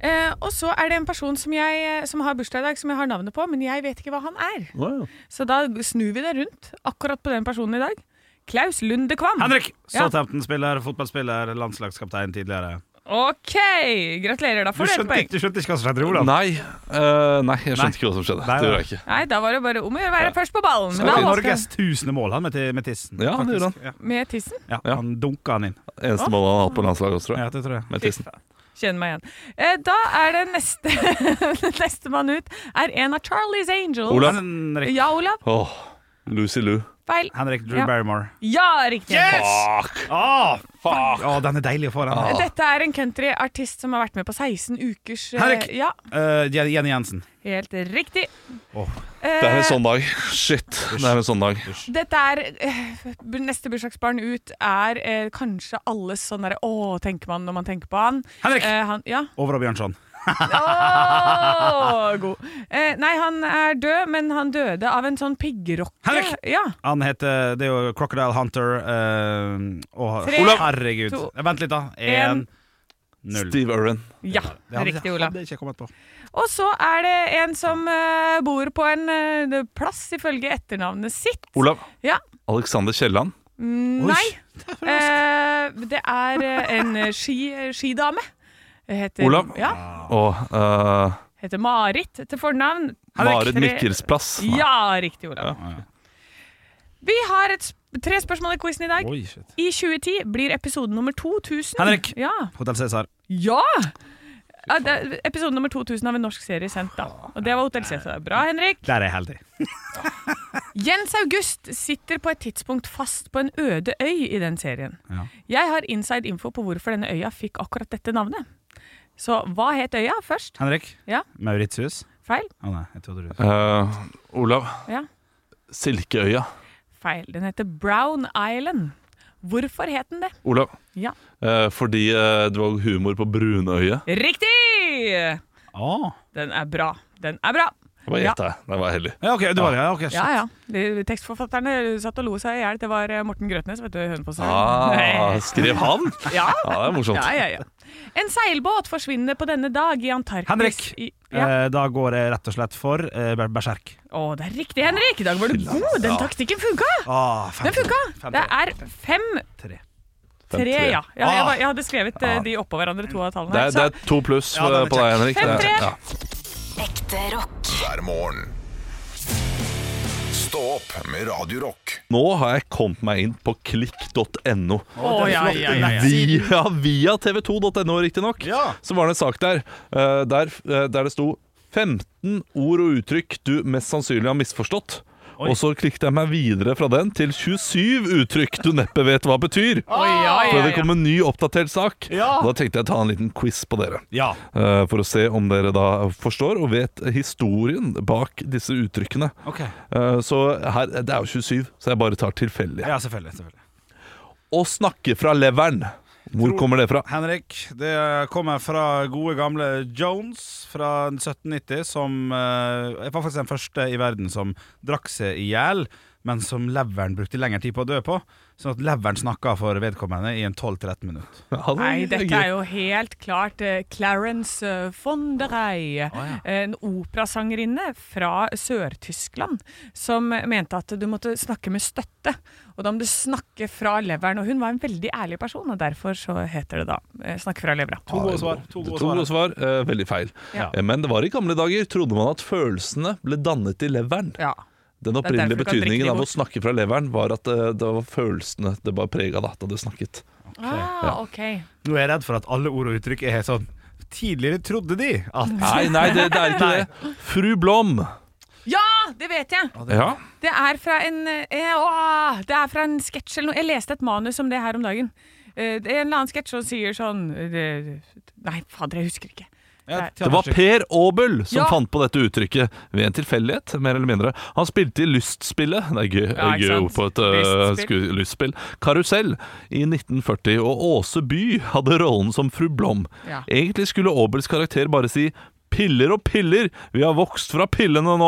[SPEAKER 3] Eh, og så er det en person som, jeg, eh, som har bursdag i dag, som jeg har navnet på, men jeg vet ikke hva han er.
[SPEAKER 2] Wow.
[SPEAKER 3] Så da snur vi det rundt akkurat på den personen i dag. Klaus Lunde Kvam.
[SPEAKER 4] Henrik!
[SPEAKER 3] Mm. Ja.
[SPEAKER 4] Southampton-spiller, fotballspiller, landslagskaptein tidligere.
[SPEAKER 3] Ok, gratulerer. Da
[SPEAKER 4] Du
[SPEAKER 3] får du et
[SPEAKER 4] skjønte,
[SPEAKER 3] poeng.
[SPEAKER 4] ikke- du skjønte ikke hva som skjedde, Olav?
[SPEAKER 2] Nei, eh, nei, jeg
[SPEAKER 4] Nei.
[SPEAKER 2] skjønte ikke hva som skjedde.
[SPEAKER 4] Nei,
[SPEAKER 2] Det
[SPEAKER 4] nei.
[SPEAKER 2] gjorde jeg ikke.
[SPEAKER 3] Nei, da var det bare om å gjøre å være først på ballen.
[SPEAKER 4] Det
[SPEAKER 3] Men da
[SPEAKER 4] var
[SPEAKER 3] holdt det.
[SPEAKER 4] Norges tusende mål, han med, ti- med tissen.
[SPEAKER 2] Ja, det
[SPEAKER 4] faktisk.
[SPEAKER 2] gjorde
[SPEAKER 4] Ja.
[SPEAKER 3] Med tissen.
[SPEAKER 4] Ja,
[SPEAKER 2] Ja.
[SPEAKER 4] Han dunka han inn.
[SPEAKER 2] Eneste målet han har hatt på landslaget også, tror jeg.
[SPEAKER 4] det tror jeg.
[SPEAKER 2] Med tissen.
[SPEAKER 3] Kjenn meg igjen. Eh, da er det neste <laughs> Nestemann ut er en av Charlies Angels.
[SPEAKER 2] Olav.
[SPEAKER 4] Henrik,
[SPEAKER 3] Ja, Olav.
[SPEAKER 2] Åh, Lucy Lou.
[SPEAKER 3] Feil.
[SPEAKER 4] Henrik Drew
[SPEAKER 3] Ja.
[SPEAKER 4] Barrymore.
[SPEAKER 3] Ja, riktig.
[SPEAKER 4] Ah,
[SPEAKER 2] Fuck!
[SPEAKER 4] Å, fuck! Å, den er deilig å få, den.
[SPEAKER 2] Ah.
[SPEAKER 3] Dette er en countryartist som har vært med på 16 ukers eh,
[SPEAKER 4] Henrik.
[SPEAKER 3] Ja,
[SPEAKER 4] Eh, Jen- Jenny Jensen.
[SPEAKER 3] helt riktig.
[SPEAKER 4] Åh.
[SPEAKER 3] Eh,
[SPEAKER 2] Det er en sånn dag. Shit, det er en sånn dag.
[SPEAKER 3] Dette er eh, bu- Neste bursdagsbarn ut er eh, kanskje alles sånn derre Å, tenker man når man tenker på han.
[SPEAKER 4] Henrik!
[SPEAKER 3] Eh, han ja.
[SPEAKER 4] Over og Bjørnson.
[SPEAKER 3] Åh, god. Eh, nei, han er død, men han døde av en sånn piggrocke.
[SPEAKER 4] Henrik!
[SPEAKER 3] Ja.
[SPEAKER 4] Han heter Det er jo Crocodile Hunter. eh, og
[SPEAKER 3] Tre,
[SPEAKER 4] Olav! Herregud.
[SPEAKER 3] to,
[SPEAKER 4] Vent litt, da.
[SPEAKER 3] en,
[SPEAKER 4] Én, null.
[SPEAKER 2] Steve Irwin.
[SPEAKER 3] ja
[SPEAKER 4] Det hadde-
[SPEAKER 3] riktig, Olav.
[SPEAKER 4] hadde jeg ikke kommet på.
[SPEAKER 3] Og så er det en som eh, bor på en eh, plass ifølge etternavnet sitt.
[SPEAKER 2] Olav.
[SPEAKER 3] Ja.
[SPEAKER 2] Alexander Kielland.
[SPEAKER 3] Mm, Nei. Eh, det er eh, en eh, ski, skidame. Heter,
[SPEAKER 2] Olav.
[SPEAKER 3] Ja,
[SPEAKER 2] Og eh,
[SPEAKER 3] heter Marit til fornavn.
[SPEAKER 2] Marit
[SPEAKER 3] Tre-
[SPEAKER 2] Mikkelsplass.
[SPEAKER 3] Ja, riktig, Olav. Vi har et, sp- tre spørsmål i quizen i dag.
[SPEAKER 4] Oi, shit.
[SPEAKER 3] I 2010 blir episode nummer 2000.
[SPEAKER 4] Henrik.
[SPEAKER 3] Ja!
[SPEAKER 4] Hotell Cæsar.
[SPEAKER 3] ja! Ja, det, episode nummer 2000 av en norsk serie sendt, da. Og det var Hotell Cæsar. Bra, Henrik.
[SPEAKER 4] Der er jeg heldig.
[SPEAKER 3] Jens August sitter på et tidspunkt fast på en øde øy i den serien.
[SPEAKER 4] Ja.
[SPEAKER 3] Jeg har inside info på hvorfor denne øya fikk akkurat dette navnet. Så hva het øya først?
[SPEAKER 4] Henrik?
[SPEAKER 3] Ja.
[SPEAKER 4] Mauritius?
[SPEAKER 3] Feil?
[SPEAKER 4] Å nei, jeg trodde du
[SPEAKER 2] Eh, Olav.
[SPEAKER 3] Ja.
[SPEAKER 2] Silkeøya.
[SPEAKER 3] Feil. Den heter Brown Island. Hvorfor het den det?
[SPEAKER 2] Olav.
[SPEAKER 3] Ja.
[SPEAKER 2] Eh, fordi eh, det var humor på Brunøyet.
[SPEAKER 3] Riktig!
[SPEAKER 4] Å.
[SPEAKER 3] Den er bra. Den er bra.
[SPEAKER 2] Det var gjett, jeg. Det var heldig.
[SPEAKER 4] Ja, OK, du var det. Ja, ok, shit.
[SPEAKER 3] Ja, ja. De, tekstforfatterne satt og lo seg i hjel. Det var eh, Morten Grøtnes, vet du. Hønefoss.
[SPEAKER 2] Ah, skrev han?
[SPEAKER 3] ja.
[SPEAKER 2] Ja, det er morsomt.
[SPEAKER 3] ja, ja, ja. En seilbåt forsvinner på denne dag i Antarktis.
[SPEAKER 4] Henrik.
[SPEAKER 3] I, ja.
[SPEAKER 4] Eh, Da går jeg rett og slett for eh, ber- berserk.
[SPEAKER 3] Å, det er riktig, Henrik! I dag var du god! Den taktikken funka!
[SPEAKER 4] Ah,
[SPEAKER 3] Den funka! Det er fem,
[SPEAKER 4] Tre.
[SPEAKER 3] tre,
[SPEAKER 2] Fem-tre.
[SPEAKER 3] ja. ja jeg, var- jeg hadde skrevet eh, de oppå hverandre, to av tallene.
[SPEAKER 2] Ah. Det
[SPEAKER 3] her,
[SPEAKER 2] er, det er to pluss eh,
[SPEAKER 4] Ja, den er
[SPEAKER 2] på deg, Henrik.
[SPEAKER 3] Fem,
[SPEAKER 2] Det er-
[SPEAKER 3] tre.
[SPEAKER 2] ja.
[SPEAKER 6] Ekte rock.
[SPEAKER 1] hver morgen. Stå opp med Radio Rock.
[SPEAKER 2] Nå har jeg kommet meg inn på klikk.no.
[SPEAKER 3] så, å, ja, ja, ja, ja.
[SPEAKER 2] Via, <laughs> via tv2.no, riktignok,
[SPEAKER 5] Ja.
[SPEAKER 2] så var det en sak der eh, der, eh, der det sto 15 ord og uttrykk du mest sannsynlig har misforstått. Og så klikket jeg meg videre fra den til 27 uttrykk du neppe vet hva betyr.
[SPEAKER 3] Oi, ja,
[SPEAKER 2] For
[SPEAKER 3] ja,
[SPEAKER 2] det
[SPEAKER 3] ja.
[SPEAKER 2] kom en ny oppdatert sak.
[SPEAKER 5] Ja.
[SPEAKER 2] Da tenkte jeg å ta en liten quiz på dere.
[SPEAKER 4] Ja.
[SPEAKER 2] eh, For å se om dere da forstår og vet historien bak disse uttrykkene.
[SPEAKER 4] OK.
[SPEAKER 2] Eh, Så her, det er jo 27, så jeg bare tar tilfeldig.
[SPEAKER 4] Ja, selvfølgelig. selvfølgelig.
[SPEAKER 2] Å snakke fra leveren. Hvor kommer det fra? <laughs>
[SPEAKER 4] Henrik, det kommer fra gode gamle Jones fra 1790, som eh, var faktisk den første i verden som drakk seg i hjel, men som leveren brukte lengre tid på å dø på. Sånn at leveren snakka for vedkommende i en 12-13 minutter.
[SPEAKER 3] Nei, dette er jo helt klart eh, Clarence eh, von der Rey, en operasangerinne fra Sør-Tyskland, som mente at du måtte snakke med støtte, og da må du snakke fra leveren, og hun var en veldig ærlig person, og derfor så heter det da eh, snakke fra leveren.
[SPEAKER 4] To gode svar. To
[SPEAKER 2] To
[SPEAKER 4] gode
[SPEAKER 2] gode
[SPEAKER 4] svar.
[SPEAKER 2] svar. eh, veldig feil.
[SPEAKER 3] Ja.
[SPEAKER 2] Eh, Men det var i gamle dager trodde man at følelsene ble dannet i leveren.
[SPEAKER 3] Ja.
[SPEAKER 2] Den
[SPEAKER 3] er derfor
[SPEAKER 2] opprinnelige
[SPEAKER 3] du kan drikke
[SPEAKER 2] betydningen
[SPEAKER 3] de
[SPEAKER 2] av å
[SPEAKER 3] bort.
[SPEAKER 2] snakke fra leveren var at eh, det var følelsene det var prega da, da du snakket.
[SPEAKER 3] Ah, ok.
[SPEAKER 4] Nå er jeg redd for at alle ord og uttrykk er sånn Tidligere trodde de
[SPEAKER 3] Mm.
[SPEAKER 4] at
[SPEAKER 2] Nei, nei, det, det er ikke det. Fru Blom.
[SPEAKER 3] Ja, Ah, det vet jeg!
[SPEAKER 2] Ja.
[SPEAKER 3] Det er fra en eh, åh, Det er fra en sketsj eller noe. Jeg leste et manus om det her om dagen. Eh, det er en eller annen sketsj som sier sånn eh, det, Nei, fader, jeg husker ikke.
[SPEAKER 4] Ja,
[SPEAKER 2] Det var Per Aabel som
[SPEAKER 3] Ja.
[SPEAKER 2] fant på dette uttrykket ved en tilfeldighet, mer eller mindre. Han spilte i Lystspillet Det er gøy,
[SPEAKER 3] Ja, ikke
[SPEAKER 2] gøy
[SPEAKER 3] sant?
[SPEAKER 2] ord på et øh,
[SPEAKER 3] Lystspill.
[SPEAKER 2] sku- lystspill. Karusell i 1940, og Åse By hadde rollen som fru Blom.
[SPEAKER 3] Ja.
[SPEAKER 2] Egentlig skulle Aabels karakter bare si Piller og piller, vi har vokst fra pillene nå!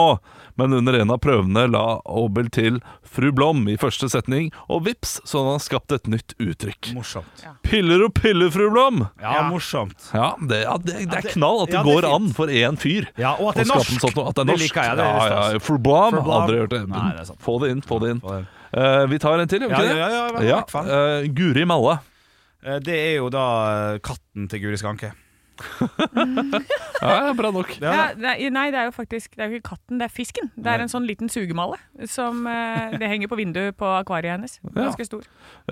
[SPEAKER 2] Men under en av prøvene la Aabel til fru Blom i første setning, og vips, så hadde han skapt et nytt uttrykk.
[SPEAKER 4] Morsomt.
[SPEAKER 2] Piller og piller, fru Blom!
[SPEAKER 4] Ja, morsomt.
[SPEAKER 2] Ja, det, ja, det, det er
[SPEAKER 4] det-
[SPEAKER 2] knall at det
[SPEAKER 4] ja, det er
[SPEAKER 2] går
[SPEAKER 4] fint.
[SPEAKER 2] an for én fyr.
[SPEAKER 4] Ja, og
[SPEAKER 2] å
[SPEAKER 4] at det er
[SPEAKER 2] skape
[SPEAKER 4] norsk.
[SPEAKER 2] en Sånn, at det er
[SPEAKER 4] Det
[SPEAKER 2] norst.
[SPEAKER 4] liker jeg, det er
[SPEAKER 2] ja,
[SPEAKER 4] stas.
[SPEAKER 2] ja, for Blom,
[SPEAKER 4] For Blom.
[SPEAKER 2] Aldri hørt det.
[SPEAKER 4] Nei, det er sant.
[SPEAKER 2] Få det inn, få det inn.
[SPEAKER 4] Få det inn.
[SPEAKER 2] Eh, vi tar en til, gjør vi
[SPEAKER 4] Ja,
[SPEAKER 2] ikke det?
[SPEAKER 4] ja, ja, ja, i hvert fall.
[SPEAKER 2] eh, Guri Malla.
[SPEAKER 4] Eh, Det er jo da eh, katten til Guri Skanke.
[SPEAKER 2] Ja, ja, bra nok.
[SPEAKER 3] Ja, nei, nei, det er jo faktisk det er jo ikke katten, det er fisken. Det er en sånn liten sugemale som
[SPEAKER 2] <laughs>
[SPEAKER 3] eh, det henger på vinduet på akvariet hennes. Ganske stor.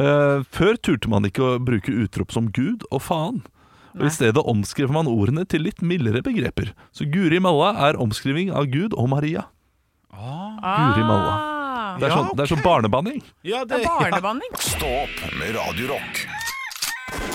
[SPEAKER 2] Eh, før turte man ikke å bruke utrop som Gud og faen. Og I stedet omskrev man ordene til litt mildere begreper. Så Guri Malla er omskriving av Gud og Maria. Guri malla. Det er
[SPEAKER 4] Ja,
[SPEAKER 2] sånn, det er sånn barnebanning.
[SPEAKER 4] Ja,
[SPEAKER 3] Ah.
[SPEAKER 2] <laughs>
[SPEAKER 3] Det er barnebanning.
[SPEAKER 1] Stå opp med Radio Rock.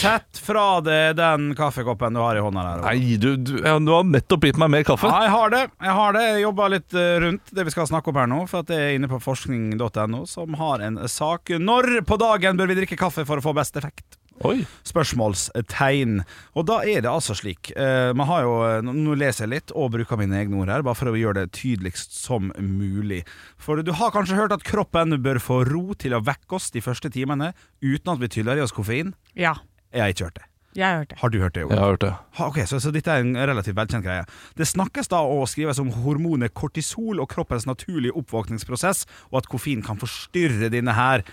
[SPEAKER 4] Sett fra deg den kaffekoppen du har i hånda der.
[SPEAKER 2] Nei, du, du, ja, du har nettopp gitt meg mer kaffe.
[SPEAKER 4] Ja, jeg har det. Jeg har det. Jeg jobba litt eh, rundt det vi skal snakke om her nå, for at jeg er inne på forskning.no, som har en sak. Når på dagen bør vi drikke kaffe for å få best effekt?
[SPEAKER 2] Oi.
[SPEAKER 4] Spørsmålstegn. Og da er det altså slik eh, Man har jo Nå nå leser jeg litt og bruker mine egne ord her, bare for å gjøre det tydeligst som mulig. For du har kanskje hørt at kroppen bør få ro til å vekke oss de første timene uten at vi tyller i oss koffein.
[SPEAKER 3] Ja,
[SPEAKER 4] Jeg har ikke hørt det.
[SPEAKER 3] jeg har hørt det.
[SPEAKER 4] Har du hørt det? Ole?
[SPEAKER 2] Jeg har hørt det.
[SPEAKER 4] Ha, Ok, så, så dette er en relativt velkjent greie. Det snakkes da og skrives om hormonet kortisol og kroppens naturlige oppvåkningsprosess, og at koffein kan forstyrre dine her.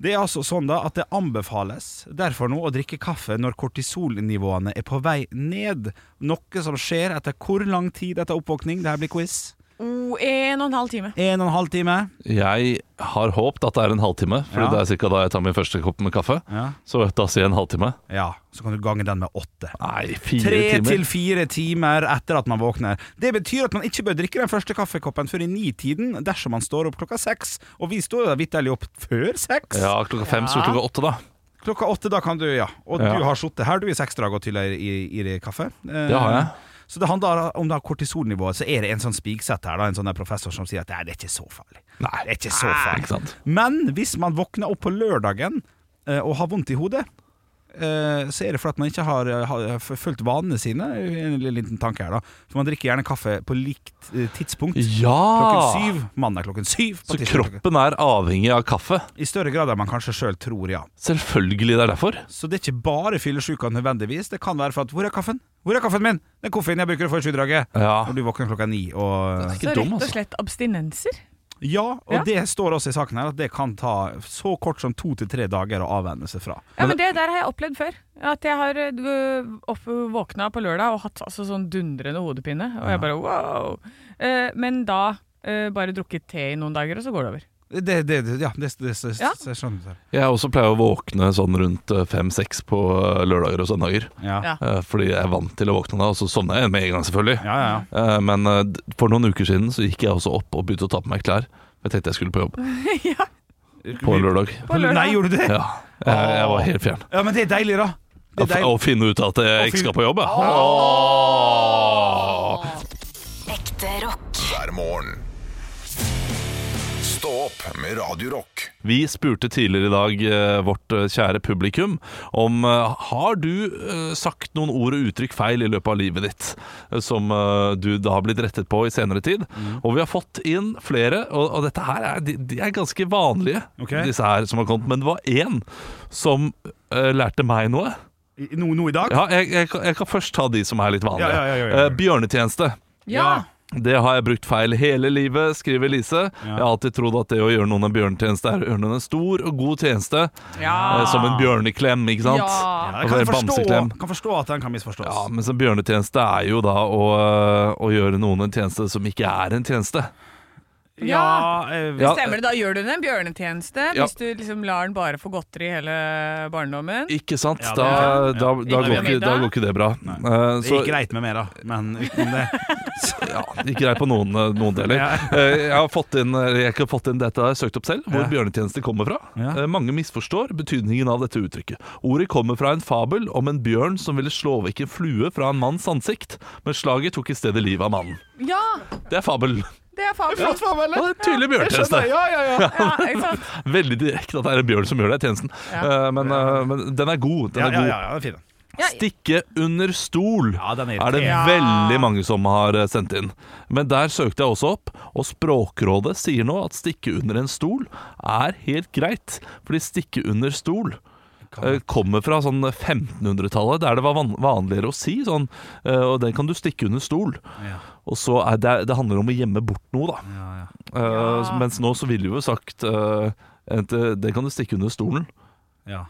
[SPEAKER 4] Det er altså sånn da at det anbefales derfor nå å drikke kaffe når kortisolnivåene er på vei ned. Noe som skjer etter hvor lang tid etter oppvåkning? Det her blir quiz.
[SPEAKER 3] Oh, en og en halv time.
[SPEAKER 4] En og en halv time.
[SPEAKER 2] Jeg har håpet at det er en halvtime, Fordi
[SPEAKER 4] Ja.
[SPEAKER 2] det er cirka da jeg tar min første kopp med kaffe.
[SPEAKER 4] Ja.
[SPEAKER 2] Så da sier jeg en halvtime.
[SPEAKER 4] ja. Så kan du gange den med åtte.
[SPEAKER 2] Nei, fire
[SPEAKER 4] Tre
[SPEAKER 2] timer.
[SPEAKER 4] til fire timer etter at man våkner. Det betyr at man ikke bør drikke den første kaffekoppen før i nitiden dersom man står opp klokka seks. Og vi står jo da vitterlig opp før seks.
[SPEAKER 2] Ja, klokka fem, så klokka åtte, da.
[SPEAKER 4] Klokka åtte, da kan du, ja. Og
[SPEAKER 2] Ja.
[SPEAKER 4] du har sittet her du i seks dager til i, i, i det kaffe. Eh,
[SPEAKER 2] Det har jeg.
[SPEAKER 4] Så det handler om da kortisolnivået. Så er det en sånn spiksett her, da, en sånn der professor som sier at nei, det er ikke så farlig.
[SPEAKER 2] Nei,
[SPEAKER 4] Det er ikke så
[SPEAKER 2] Nei,
[SPEAKER 4] farlig.
[SPEAKER 2] ikke sant?
[SPEAKER 4] Men hvis man våkner opp på lørdagen eh, og har vondt i hodet, eh, så er det fordi at man ikke har, eh, har f- fulgt vanene sine. En liten tanke her da For man drikker gjerne kaffe på likt eh, tidspunkt. Klokken
[SPEAKER 2] Ja!
[SPEAKER 4] syv, mandag klokken syv. på
[SPEAKER 2] Så
[SPEAKER 4] tirsdag klokken-
[SPEAKER 2] kroppen er avhengig av kaffe.
[SPEAKER 4] I større grad enn man kanskje sjøl tror, ja.
[SPEAKER 2] Selvfølgelig det er derfor.
[SPEAKER 4] Så det er ikke bare fyllesyka nødvendigvis. Det kan være for at Hvor er kaffen? Hvor er kaffen min? Den koffeinen jeg bruker å få i sjudraget.
[SPEAKER 2] Ja.
[SPEAKER 4] Når du våkner klokka ni og
[SPEAKER 2] Ikke
[SPEAKER 3] Så
[SPEAKER 2] dum,
[SPEAKER 3] rett og
[SPEAKER 2] altså.
[SPEAKER 3] slett abstinenser.
[SPEAKER 4] Ja, og
[SPEAKER 3] Ja.
[SPEAKER 4] det står også i saken her at det kan ta så kort som to til tre dager å avvenne seg fra.
[SPEAKER 3] Ja, men det der har jeg opplevd før. At jeg har øh, opp, våkna på lørdag og hatt altså, sånn dundrende hodepine. Og jeg bare wow. Eh, men da eh, bare drukket te i noen dager, og så går det over.
[SPEAKER 4] Det, det, det, ja, det, det, det,
[SPEAKER 3] Ja.
[SPEAKER 4] Jeg skjønner det.
[SPEAKER 2] Jeg også pleier å våkne sånn rundt eh, fem-seks på eh, lørdager og søndager.
[SPEAKER 4] Ja.
[SPEAKER 3] Ja.
[SPEAKER 4] Ja.
[SPEAKER 2] Eh, Fordi jeg er vant til å våkne da, og så sovner jeg med en gang, selvfølgelig.
[SPEAKER 4] Ja, ja,
[SPEAKER 2] Eh, Men eh, d- for noen uker siden så gikk jeg også opp og begynte å ta på meg klær. Jeg tenkte jeg skulle på jobb
[SPEAKER 3] ja,
[SPEAKER 2] på lørdag.
[SPEAKER 3] på lørdag.
[SPEAKER 4] Nei, gjorde du det?
[SPEAKER 2] Ja, jeg, jeg var helt fjern.
[SPEAKER 4] Ja, men det er deilig, da.
[SPEAKER 2] Å f-
[SPEAKER 4] Det er
[SPEAKER 2] Å
[SPEAKER 4] deilig.
[SPEAKER 2] finne ut at jeg ikke skal på jobb, ja.
[SPEAKER 6] Ekte rock.
[SPEAKER 1] hver morgen. Stå opp med Radio Rock.
[SPEAKER 2] Vi spurte tidligere i dag eh, vårt eh, kjære publikum om eh, har du eh, sagt noen ord og uttrykk feil i løpet av livet ditt, eh, som eh, du da har blitt rettet på i senere tid.
[SPEAKER 4] Mm.
[SPEAKER 2] Og vi har fått inn flere, og, og dette her er, de, de er ganske vanlige,
[SPEAKER 4] Ok.
[SPEAKER 2] disse her som har kommet. Men det var én som eh, lærte meg noe.
[SPEAKER 4] I- Nå, nå i dag?
[SPEAKER 2] Ja, jeg, jeg, kan- jeg kan først ta de som er litt vanlige.
[SPEAKER 4] Ja, ja, ja, ja, ja.
[SPEAKER 2] Eh, bjørnetjeneste.
[SPEAKER 3] Ja.
[SPEAKER 2] Det har jeg brukt feil hele livet, skriver Lise. Jeg har alltid trodd at det å gjøre noen en bjørnetjeneste er å gjøre noen en stor og god tjeneste. eh, Som
[SPEAKER 4] Ah.
[SPEAKER 2] en bjørneklem, ikke sant?
[SPEAKER 3] Ja.
[SPEAKER 4] Jeg
[SPEAKER 2] Og
[SPEAKER 4] kan
[SPEAKER 2] en
[SPEAKER 4] forstå,
[SPEAKER 2] bamseklem.
[SPEAKER 4] kan forstå at den kan misforstås.
[SPEAKER 2] Ja, mens en bjørnetjeneste er jo da å, eh, å gjøre noen en tjeneste som ikke er en tjeneste.
[SPEAKER 4] Ja, eh,
[SPEAKER 2] Ja.
[SPEAKER 3] Stemmer det, da gjør du den en bjørnetjeneste
[SPEAKER 2] Ja.
[SPEAKER 3] hvis du liksom lar den bare få godteri hele barndommen.
[SPEAKER 2] Ikke sant?
[SPEAKER 4] Ja, det-
[SPEAKER 2] da, da,
[SPEAKER 4] ja.
[SPEAKER 2] da,
[SPEAKER 3] Ikke
[SPEAKER 2] går ikke,
[SPEAKER 3] middag?
[SPEAKER 2] da går ikke det bra. Eh,
[SPEAKER 4] Det
[SPEAKER 2] så-
[SPEAKER 4] gikk greit med mer, da, men utenom
[SPEAKER 2] <laughs>
[SPEAKER 4] det
[SPEAKER 2] ja, ikke grei på noen, noen deler.
[SPEAKER 4] Ja.
[SPEAKER 2] Eh, Jeg har fått inn, eller jeg har ikke fått inn dette jeg har søkt opp selv, hvor
[SPEAKER 4] Ja.
[SPEAKER 2] bjørnetjeneste kommer fra.
[SPEAKER 4] Ja.
[SPEAKER 2] Eh, Mange misforstår betydningen av dette uttrykket. Ordet kommer fra en fabel om en bjørn som ville slå vekk en flue fra en manns ansikt, men slaget tok i stedet livet av mannen.
[SPEAKER 3] Ja!
[SPEAKER 2] Det er fabel.
[SPEAKER 3] Det er faen
[SPEAKER 5] Flott for meg,
[SPEAKER 2] Ja, det er tydelig bjørnetjeneste.
[SPEAKER 5] Ja, ja, ja.
[SPEAKER 3] Ja, ikke sant?
[SPEAKER 2] Veldig direkte at det er en bjørn som gjør det, tjenesten.
[SPEAKER 3] Ja.
[SPEAKER 2] Eh, Men, eh, men den er god. Den
[SPEAKER 4] Ja,
[SPEAKER 2] er
[SPEAKER 4] ja,
[SPEAKER 2] god.
[SPEAKER 4] ja, den er fin. den.
[SPEAKER 2] Stikke under stol
[SPEAKER 4] Ja, den er
[SPEAKER 2] er det
[SPEAKER 4] irriterende.
[SPEAKER 2] veldig mange som har eh, sendt inn. Men der søkte jeg også opp, og Språkrådet sier nå at stikke under en stol er helt greit, fordi stikke under stol eh, kommer fra sånn 1500-tallet, der det var van vanligere å si sånn eh, Og den kan du stikke under stol.
[SPEAKER 4] Ja.
[SPEAKER 2] Og så er det, det handler om å gjemme bort noe, da.
[SPEAKER 4] Ja,
[SPEAKER 2] Eh,
[SPEAKER 4] ja.
[SPEAKER 3] Ja.
[SPEAKER 2] Mens nå så ville vi jo sagt eh, at, eh, Den kan du stikke under stolen.
[SPEAKER 4] Ja.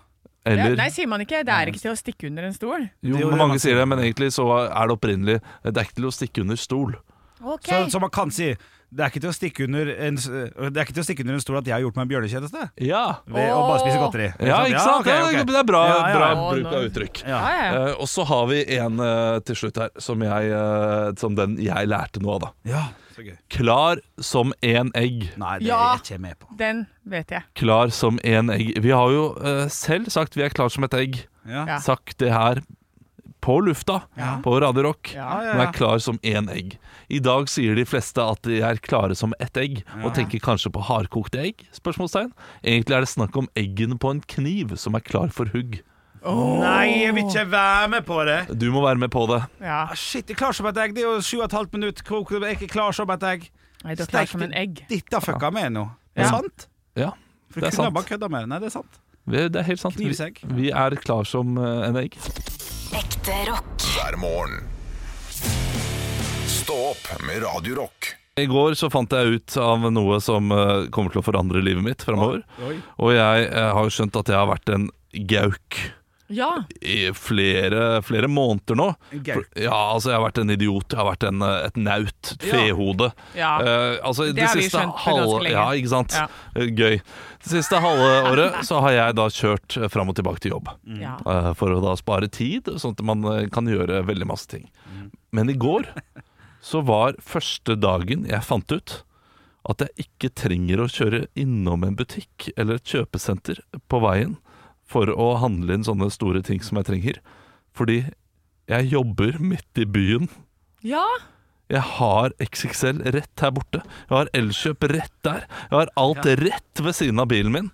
[SPEAKER 2] Eller
[SPEAKER 3] Nei, sier man ikke. Det er ikke til å stikke under en stol.
[SPEAKER 2] Jo,
[SPEAKER 4] Det er jo det
[SPEAKER 2] mange
[SPEAKER 4] man
[SPEAKER 2] sier
[SPEAKER 4] sier.
[SPEAKER 2] det, men egentlig så er det opprinnelig Det er ikke til å stikke under stol.
[SPEAKER 3] Ok.
[SPEAKER 4] Så, så man kan si det er, ikke til å stikke under en, s- eh, det er ikke til å stikke under en stol at jeg har gjort meg en bjørnetjeneste
[SPEAKER 2] Ja,
[SPEAKER 4] ved å bare spise godteri. Sånn.
[SPEAKER 2] ja ikke sant?
[SPEAKER 4] ok, ok.
[SPEAKER 2] Ja, Det er bra,
[SPEAKER 4] Ja, ja, ja.
[SPEAKER 2] bra bruk av uttrykk.
[SPEAKER 4] Ja.
[SPEAKER 3] Ja, ja.
[SPEAKER 2] Eh, og så har vi en eh, til slutt her, som, jeg, eh, som den jeg lærte nå av. da.
[SPEAKER 4] Ja, så gøy.
[SPEAKER 2] Klar som en egg.
[SPEAKER 4] Nei, det
[SPEAKER 3] Ja.
[SPEAKER 4] er ikke jeg med på.
[SPEAKER 3] Den vet jeg.
[SPEAKER 2] Klar som en egg. Vi har jo eh, selv sagt vi er klar som et egg.
[SPEAKER 4] Ja.
[SPEAKER 3] Ja.
[SPEAKER 2] Sagt det her på lufta,
[SPEAKER 4] Ja.
[SPEAKER 2] på Radio Rock.
[SPEAKER 3] Ja.
[SPEAKER 4] Ja, ja,
[SPEAKER 2] Men
[SPEAKER 4] ja.
[SPEAKER 2] er klar som én egg. I dag sier de fleste at de er klare som ett egg, og tenker kanskje på hardkokte egg? Spørsmålstegn. Egentlig er det snakk om eggene på en kniv som er klar for hugg.
[SPEAKER 4] Nei, jeg vil ikke være med på det.
[SPEAKER 2] Du må være med på det.
[SPEAKER 3] Ja.
[SPEAKER 4] Ah, shit, jeg er klar som et egg. Det er jo sju og et halvt minutt. Kok- Jeg er ikke klar som et egg.
[SPEAKER 3] Nei, du er klar som en egg.
[SPEAKER 4] Dette fucka med nå.
[SPEAKER 3] Ja.
[SPEAKER 4] Det er sant.
[SPEAKER 2] Ja,
[SPEAKER 4] For
[SPEAKER 2] Det er
[SPEAKER 4] kunne
[SPEAKER 2] sant.
[SPEAKER 4] jeg bare kødda med det. Nei, det er sant.
[SPEAKER 2] vi- det er helt sant. Vi,
[SPEAKER 4] Knivsegg.
[SPEAKER 2] vi er klar som eh, en egg.
[SPEAKER 6] Ekte rock.
[SPEAKER 1] hver morgen. Stå opp med Radio Rock.
[SPEAKER 2] I går så fant jeg ut av noe som eh, kommer til å forandre livet mitt framover. Og jeg eh, har jo skjønt at jeg har vært en gauk
[SPEAKER 3] Ja.
[SPEAKER 2] i flere, flere måneder nå.
[SPEAKER 4] En gauk?
[SPEAKER 2] For- Ja, altså jeg har vætt en idiot. Jeg har vært en, eh, et naut. Et fehode.
[SPEAKER 3] Ja.
[SPEAKER 2] Eh, altså, det,
[SPEAKER 3] har vi
[SPEAKER 2] siste
[SPEAKER 3] skjønt for
[SPEAKER 2] halve,
[SPEAKER 3] ganske lenge.
[SPEAKER 2] Ja, ikke sant?
[SPEAKER 3] Ja.
[SPEAKER 2] Eh, Gøy. Det siste halve året så har jeg da kjørt eh, fram og tilbake til jobb.
[SPEAKER 3] ja.
[SPEAKER 2] Eh, for å da spare tid, sånn at man eh, kan gjøre veldig masse ting. Men i går så var første dagen jeg fant ut at jeg ikke trenger å kjøre innom en butikk eller et kjøpesenter på veien for å handle inn sånne store ting som jeg trenger. Fordi jeg jobber midt i byen.
[SPEAKER 3] Ja.
[SPEAKER 2] Jeg har XXL rett her borte. Jeg har Elkjøp rett der. Jeg har alt rett ved siden av bilen min.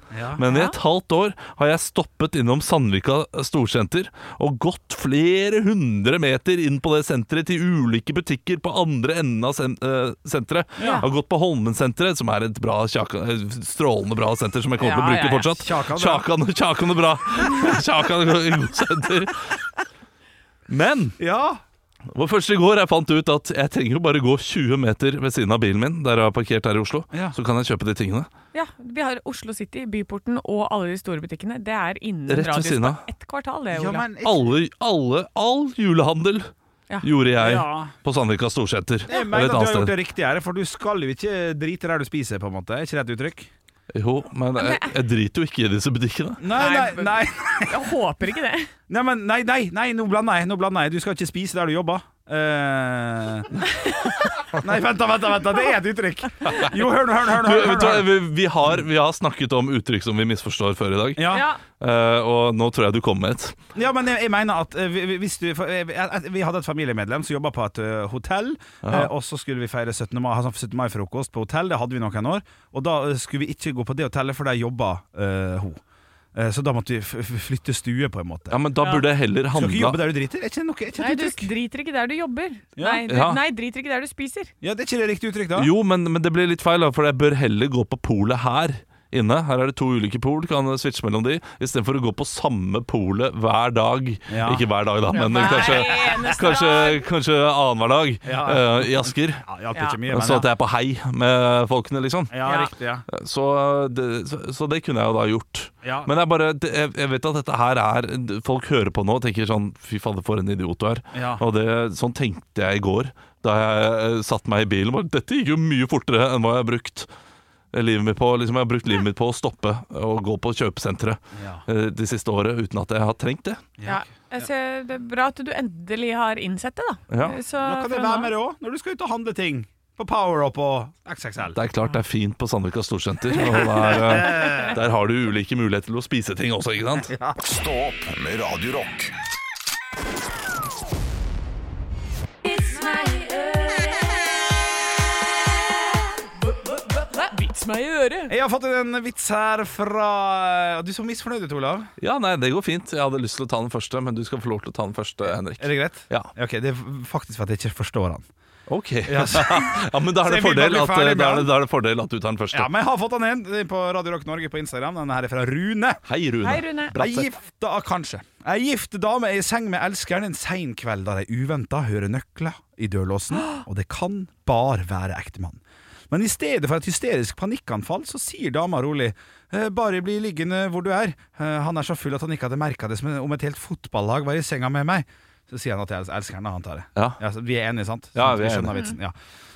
[SPEAKER 2] Men i et halvt år har jeg stoppet innom Sandvika storsenter og gått flere hundre meter inn på det senteret til ulike butikker på andre enden av sen eh, senteret. Jeg har gått på Holmensenteret, som er et bra, kjaka, eh, strålende bra senter som jeg kommer til å
[SPEAKER 3] Ja,
[SPEAKER 2] bruke
[SPEAKER 3] ja, ja.
[SPEAKER 2] fortsatt.
[SPEAKER 4] Kjakan, bra.
[SPEAKER 2] Kjakan, Kjakan er bra. <laughs> Kjakan er et godt senter. Men
[SPEAKER 4] Ja.
[SPEAKER 2] det var først i går jeg fant ut at jeg trenger jo bare gå 20 meter ved siden av bilen min, der jeg har parkert her i Oslo,
[SPEAKER 4] Ja.
[SPEAKER 2] så kan jeg kjøpe de tingene.
[SPEAKER 3] ja. Vi har Oslo City, Byporten og alle de store butikkene. Det er innen
[SPEAKER 2] Rett ved
[SPEAKER 3] radius
[SPEAKER 2] siden
[SPEAKER 3] på
[SPEAKER 2] av.
[SPEAKER 3] ett kvartal, det,
[SPEAKER 4] ja,
[SPEAKER 3] Ola.
[SPEAKER 4] men
[SPEAKER 2] Alle, alle, all julehandel
[SPEAKER 3] Ja.
[SPEAKER 2] gjorde jeg
[SPEAKER 4] Ja.
[SPEAKER 2] på Sandvika Storsenter.
[SPEAKER 4] Jeg
[SPEAKER 2] eller
[SPEAKER 4] mener
[SPEAKER 2] et
[SPEAKER 4] at du
[SPEAKER 2] annet
[SPEAKER 4] har gjort
[SPEAKER 2] sted.
[SPEAKER 4] det riktige her, for du skal jo ikke drite der du spiser, på en måte. Er ikke det et uttrykk?
[SPEAKER 2] Jo, men jeg, jeg driter jo ikke i disse butikkene.
[SPEAKER 4] Nei,
[SPEAKER 3] Nei,
[SPEAKER 4] nei,
[SPEAKER 3] men-
[SPEAKER 4] nei.
[SPEAKER 3] Jeg håper ikke det.
[SPEAKER 4] Nei, men, nei, nei, nei, nå blander jeg. Nå blander jeg. Du skal ikke spise der du jobber. Eh, <laughs> Nei, vent da, vent da, vent da. Det er et uttrykk. Jo, hør nå, hør nå. hør nå,
[SPEAKER 2] Du,
[SPEAKER 4] hør nå,
[SPEAKER 2] vet du, hva,
[SPEAKER 4] hør nå.
[SPEAKER 2] vi, vi, har, vi har snakket om uttrykk som vi misforstår før i dag,
[SPEAKER 4] Ja.
[SPEAKER 3] Ja.
[SPEAKER 2] Eh, og nå tror jeg du kom med et.
[SPEAKER 4] ja, men jeg, jeg mener at eh, vi- vi- hvis du for, eh, vi- Vi hadde et familiemedlem som jobba på et eh, hotell, eh, og så skulle vi feire 17. mai, ha sånn 17. mai-frokost på hotell. Det hadde vi noen år. Og da eh, skulle vi ikke gå på det hotellet, for der jobba eh, hun. Eh, så da måtte vi f f flytte stue, på en måte.
[SPEAKER 2] Ja, men da burde jeg heller
[SPEAKER 4] Skal ikke jobbe
[SPEAKER 2] handla
[SPEAKER 4] der du driter? Er ikke det noe? Er ikke
[SPEAKER 3] Nei,
[SPEAKER 4] det et
[SPEAKER 3] du
[SPEAKER 4] uttrykk?
[SPEAKER 3] driter ikke der du jobber.
[SPEAKER 4] Ja.
[SPEAKER 3] Nei, du,
[SPEAKER 2] Ja.
[SPEAKER 3] nei, driter ikke der du spiser.
[SPEAKER 4] Ja, det er ikke det riktige uttrykk, da?
[SPEAKER 2] Jo, men, men det blir litt feil, da, for jeg bør heller gå på polet her. inne. Her er det to ulike pol, kan switche mellom de. Istedenfor å gå på samme polet hver dag.
[SPEAKER 4] Ja.
[SPEAKER 2] Ikke hver dag, da, men
[SPEAKER 3] hver
[SPEAKER 2] kanskje,
[SPEAKER 3] eneste
[SPEAKER 2] kanskje, kanskje annenhver dag
[SPEAKER 4] Ja.
[SPEAKER 2] eh, i Asker.
[SPEAKER 4] Ja, hjalp ikke mye, men
[SPEAKER 2] Sånn at
[SPEAKER 4] ja.
[SPEAKER 2] jeg er på hei med folkene, liksom.
[SPEAKER 4] Ja,
[SPEAKER 3] Ja.
[SPEAKER 4] riktig, ja.
[SPEAKER 2] Så det, så, så det kunne jeg jo da gjort.
[SPEAKER 4] Ja.
[SPEAKER 2] Men jeg, bare, det- jeg, jeg vet at dette her er Folk hører på nå og tenker sånn Fy fader, for en idiot du er.
[SPEAKER 4] Ja.
[SPEAKER 2] Og det, sånn tenkte jeg i går da jeg eh, satte meg i bilen. Bare, Dette gikk jo mye fortere enn hva jeg har brukt livet mitt på. Liksom, jeg har brukt livet mitt på å stoppe og gå på kjøpesenteret
[SPEAKER 4] Ja.
[SPEAKER 2] eh, det siste året uten at jeg har trengt det.
[SPEAKER 3] Ja. Jeg ser, det er bra at du endelig har innsett det, da.
[SPEAKER 2] Ja.
[SPEAKER 3] Så
[SPEAKER 4] Da kan det
[SPEAKER 3] fra
[SPEAKER 4] være
[SPEAKER 3] nå-
[SPEAKER 4] med råd når du skal ut og handle ting. På PowerUp og XXL.
[SPEAKER 2] Det er klart det er fint på Sandvika Storsenter, og der, eh, der har du ulike muligheter til å spise ting også, ikke sant?
[SPEAKER 1] Stå opp med Radio Rock.
[SPEAKER 3] Vits meg i øret!
[SPEAKER 4] Jeg har fått en vits her fra Du er så misfornøyd ut, Olav.
[SPEAKER 2] Ja, nei, det går fint. Jeg hadde lyst til å ta den første, men du skal få lov til å ta den første, Henrik.
[SPEAKER 4] Er det greit?
[SPEAKER 2] Ja,
[SPEAKER 4] Ok, Det er faktisk for at jeg ikke forstår han.
[SPEAKER 2] ok. <laughs>
[SPEAKER 4] Ja,
[SPEAKER 2] Ja,
[SPEAKER 4] så-
[SPEAKER 2] men da er, det
[SPEAKER 4] Så jeg vil bare
[SPEAKER 2] fordel
[SPEAKER 4] bli
[SPEAKER 2] at, eh,
[SPEAKER 4] ferdig med
[SPEAKER 2] da, er
[SPEAKER 4] han.
[SPEAKER 2] det, da er det fordel at du tar den første.
[SPEAKER 4] <laughs> ja, men jeg har fått han inn Det er på Radio Rock Norge på Instagram. Denne her er fra Rune.
[SPEAKER 2] Hei, Rune.
[SPEAKER 3] Hei, Rune.
[SPEAKER 2] Bratseth.
[SPEAKER 4] Ei gift da, kanskje. Ei gift dame er i seng med elskeren en sein kveld der ei uventa hører nøkler i dørlåsen, og det kan bare være ektemann. Men i stedet for et hysterisk panikkanfall, så sier dama rolig «Eh, Bare bli liggende hvor du er. Eh, Han er så full at han ikke hadde merka det som om et helt fotballag var i senga med meg. Så sier han at jeg er elskeren, og han tar det.
[SPEAKER 2] Ja.
[SPEAKER 4] Ja, så vi er enige, sant?
[SPEAKER 2] Ja,
[SPEAKER 4] Sånn at
[SPEAKER 2] vi er
[SPEAKER 4] skjønner vitsen. Ja.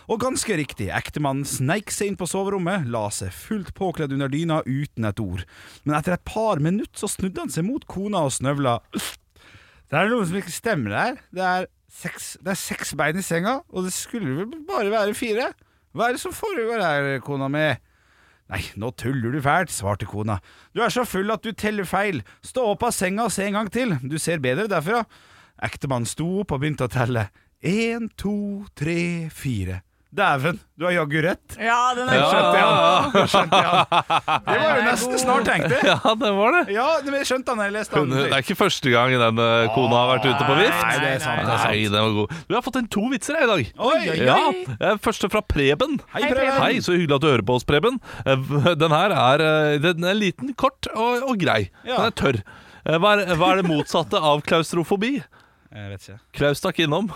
[SPEAKER 4] Og ganske riktig, ektemannen sneik seg inn på soverommet, la seg fullt påkledd under dyna uten et ord. Men etter et par minutt så snudde han seg mot kona og snøvla. Det er noe som ikke stemmer her. Det er seks, det er seks bein i senga, og det skulle vel bare være fire? Hva er det som foregår her, kona mi? Nei, nå tuller du fælt, svarte kona. Du er så full at du teller feil. Stå opp av senga og se en gang til. Du ser bedre derfra. Ektemannen sto opp og begynte å telle. Én, to, tre, fire. Dæven, du har jaggu rett.
[SPEAKER 2] <laughs>
[SPEAKER 3] Ja, den er
[SPEAKER 2] Ja.
[SPEAKER 3] skjønt.
[SPEAKER 4] Skjønte jeg han. Det skjønte jeg han. Det var jo nesten snart tenkt, det.
[SPEAKER 2] Ja, det var det.
[SPEAKER 4] Ja, men jeg skjønte han da jeg leste
[SPEAKER 2] Hun,
[SPEAKER 4] den.
[SPEAKER 2] det er ikke første gang den eh, kona har vært ute på vift.
[SPEAKER 4] Ah, Nei, det er sant, det er sant.
[SPEAKER 2] Nei, den var god. Du har fått inn to vitser jeg, i dag.
[SPEAKER 4] Oi, oi,
[SPEAKER 2] Ja, eh, Første fra Preben.
[SPEAKER 4] Hei, Preben.
[SPEAKER 2] Hei, så hyggelig at du hører på oss, Preben. Eh, v- Den her er, eh, den er liten, kort og, og grei.
[SPEAKER 4] Ja.
[SPEAKER 2] Den er tørr. Eh, Hva er, hva er det motsatte av klaustrofobi?
[SPEAKER 4] Jeg vet ikke.
[SPEAKER 2] Klaus stakk innom.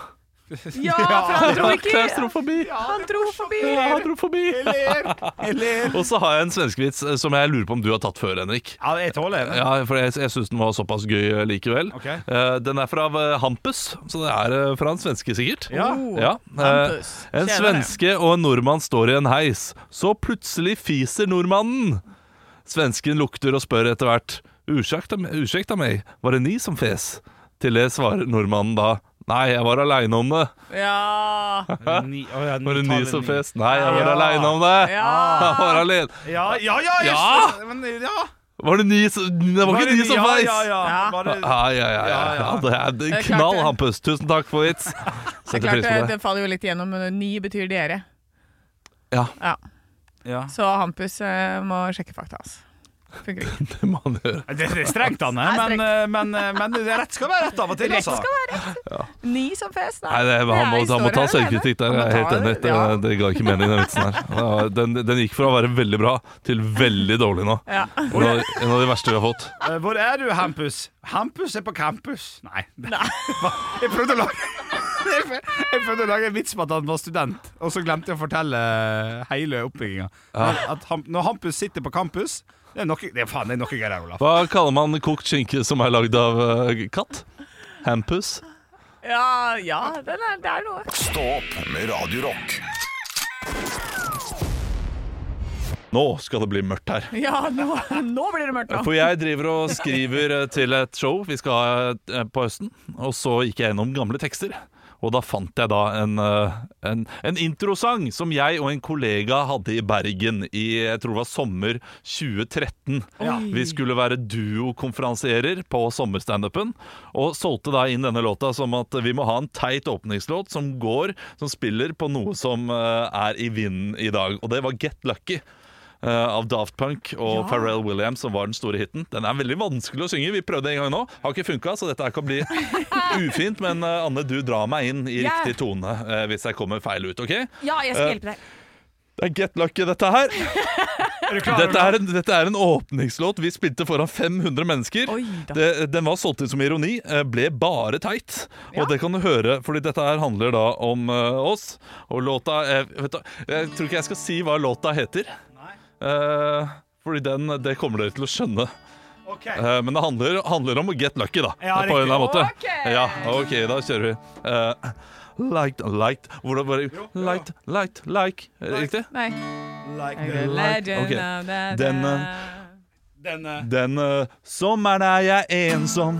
[SPEAKER 3] Ja, for han dro
[SPEAKER 2] Ja,
[SPEAKER 3] ikke
[SPEAKER 2] klaustrofobi.
[SPEAKER 3] Han dro forbi!
[SPEAKER 2] Ja, hydrofobi.
[SPEAKER 4] Jeg ler. Jeg ler.
[SPEAKER 2] Og så har jeg en svenskevits eh, som jeg lurer på om du har tatt før, Henrik.
[SPEAKER 4] <laughs> Ja, jeg tåler det.
[SPEAKER 2] Ja, for jeg, jeg syns den var såpass gøy eh, likevel.
[SPEAKER 4] Ok.
[SPEAKER 2] Eh, den er fra eh, Hampus, så det er eh, fra en svenske, sikkert.
[SPEAKER 4] Ja.
[SPEAKER 2] Ja, eh,
[SPEAKER 3] Hampus.
[SPEAKER 2] en
[SPEAKER 3] Tjener
[SPEAKER 2] svenske og en nordmann står i en heis. Så plutselig fiser nordmannen. Svensken lukter og spør etter hvert. Ursäkta me- ursäkta meg, var det ni som fes? Til det svarer nordmannen da. Nei, jeg var aleine om det.
[SPEAKER 3] Ja.
[SPEAKER 4] Ni- å, ja,
[SPEAKER 2] Var det ni
[SPEAKER 4] tallet
[SPEAKER 2] som
[SPEAKER 4] ni.
[SPEAKER 2] fes? Nei, jeg var
[SPEAKER 4] Ja.
[SPEAKER 2] aleine om det. <laughs> Jeg
[SPEAKER 3] ja.
[SPEAKER 2] var alene.
[SPEAKER 4] Ja, ja, ja, jeg
[SPEAKER 2] Ja.
[SPEAKER 4] skjønner, Men, ja.
[SPEAKER 2] Var det ni som Det var ikke ni som feis!
[SPEAKER 4] Ja, ja, ja.
[SPEAKER 3] Ja.
[SPEAKER 4] Bare,
[SPEAKER 2] Ja, ja, ja, ja, ja. Det er det
[SPEAKER 3] Det
[SPEAKER 2] er
[SPEAKER 3] er klart
[SPEAKER 2] knall,
[SPEAKER 3] det.
[SPEAKER 2] Hampus. Tusen takk for vits.
[SPEAKER 3] Det er
[SPEAKER 2] Setter
[SPEAKER 3] klart
[SPEAKER 2] pris
[SPEAKER 3] det,
[SPEAKER 2] på det.
[SPEAKER 3] det faller jo litt igjennom, men ni betyr dere.
[SPEAKER 2] Ja.
[SPEAKER 4] ja.
[SPEAKER 3] Så Hampus eh, må sjekke fakta, altså. Funker ikke.
[SPEAKER 2] Det må han gjøre.
[SPEAKER 4] Det, det er strengt, Anne,
[SPEAKER 3] Det er
[SPEAKER 4] men, eh, men, men det er rett skal være rett av og til. Altså.
[SPEAKER 3] Ni som fest, da.
[SPEAKER 2] Nei, det, han, må,
[SPEAKER 3] Jeg
[SPEAKER 2] han må
[SPEAKER 3] står
[SPEAKER 2] ta
[SPEAKER 3] her
[SPEAKER 2] selvkritikk der. Jeg er helt
[SPEAKER 3] alene.
[SPEAKER 2] enig. Det,
[SPEAKER 3] Ja.
[SPEAKER 2] det ga ikke mening, den vitsen her. Ja, Den, den gikk fra å være veldig bra til veldig dårlig nå.
[SPEAKER 3] Ja.
[SPEAKER 2] En av, en av de verste vi har fått.
[SPEAKER 4] Eh, Hvor er du, Hampus? Hampus er på campus. Nei. Hva? Jeg prøvde å lage jeg prøvde å lage en vits med at han var student, og så glemte jeg å fortelle eh, hele oppbygginga. Når Hampus sitter på campus Det er noe, det er faen, det er noe greier, Olaf.
[SPEAKER 2] Hva kaller man kokt skinke som er lagd av eh, katt? Hampus?
[SPEAKER 3] Ja, ja den er, det er noe.
[SPEAKER 1] Stå opp med Radio Rock.
[SPEAKER 2] Nå skal det bli mørkt her.
[SPEAKER 3] Ja, nå, nå blir det mørkt nå.
[SPEAKER 2] For jeg driver og skriver eh, til et show vi skal ha eh, på høsten, og så gikk jeg gjennom gamle tekster. Og da fant jeg da en, eh, en, en introsang som jeg og en kollega hadde i Bergen i jeg tror det var sommer 2013. Vi skulle være duokonferansierer på sommerstandupen, og solgte da inn denne låta som at vi må ha en teit åpningslåt som går, som spiller på noe som eh, er i vinden i dag. Og det var Get Lucky. Eh, av Daft Punk og Pharrell Williams, som var den store hiten. Den er veldig vanskelig å synge. Vi prøvde en gang nå. Har ikke funka, så dette her kan bli ufint. Men eh, Anne, du drar meg inn i
[SPEAKER 3] Ja.
[SPEAKER 2] riktig tone eh, hvis jeg kommer feil ut, OK?
[SPEAKER 3] Ja, jeg skal hjelpe deg.
[SPEAKER 2] Det er Get Lucky, dette her.
[SPEAKER 5] Er du klar,
[SPEAKER 2] Dette er, en, dette er en åpningslåt vi spilte foran 500 mennesker.
[SPEAKER 3] Oi da.
[SPEAKER 2] det, den var solgt inn som ironi, eh, ble bare teit. Og det kan du høre, fordi dette her handler da om eh, oss. Og låta eh, vet du, Jeg tror ikke jeg skal si hva låta heter. Eh, fordi den, det kommer dere til å skjønne.
[SPEAKER 5] Ok.
[SPEAKER 2] Eh, men det handler, handler om å get lucky, da.
[SPEAKER 5] Ja,
[SPEAKER 2] på en eller annen måte.
[SPEAKER 3] Ok.
[SPEAKER 2] Ja, OK, da kjører vi. Eh, light, light Hvor det bare Light, light, like. Er det Riktig?
[SPEAKER 3] Nei.
[SPEAKER 5] Like
[SPEAKER 3] The legend
[SPEAKER 2] Ok.
[SPEAKER 3] of the-
[SPEAKER 2] Den, eh, Den eh, sommeren er jeg ensom.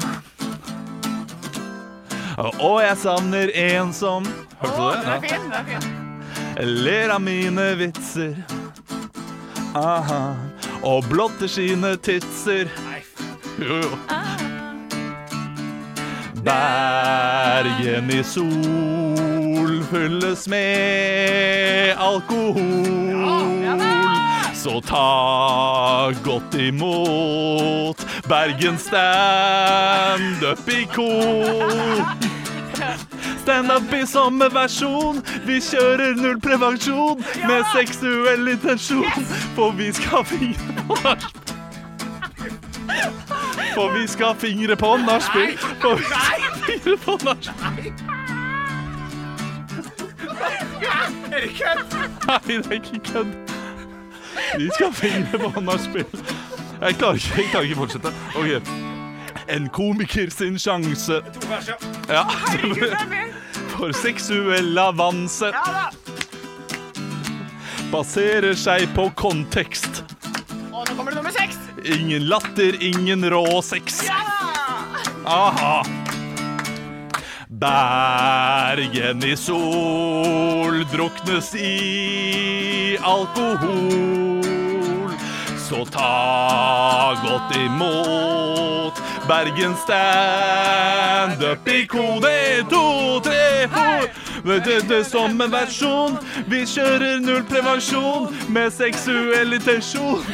[SPEAKER 2] Og jeg savner ensom. Hørte du det?
[SPEAKER 3] Den er fin, den er fin.
[SPEAKER 2] Ler av mine vitser. Aha. Og blotter sine titser. Jo, jo. Bergen i sol fylles med alkohol. Så ta godt imot Bergen standup i kor. Standup i samme versjon. Vi kjører null prevensjon med seksuell intensjon. For vi skal fingre på nachspiel. For vi skal fingre på nachspiel. For vi skal fingre på nachspiel. Er det kødd? Nei, det er ikke kødd. Vi skal fingre på nachspiel. Jeg klarer ikke, jeg klarer ikke å fortsette. Ok. En komiker sin sjanse. Ja. For seksuell avanse Baserer seg på kontekst
[SPEAKER 3] Og nå kommer det nummer seks!
[SPEAKER 2] Ingen latter, ingen rå sex Aha Bergen i sol Druknes i alkohol Så ta godt imot Bergen stand-up i kode 2, 3, 4 Vet du det som en versjon Vi kjører null prevensjon Med seksuell intensjon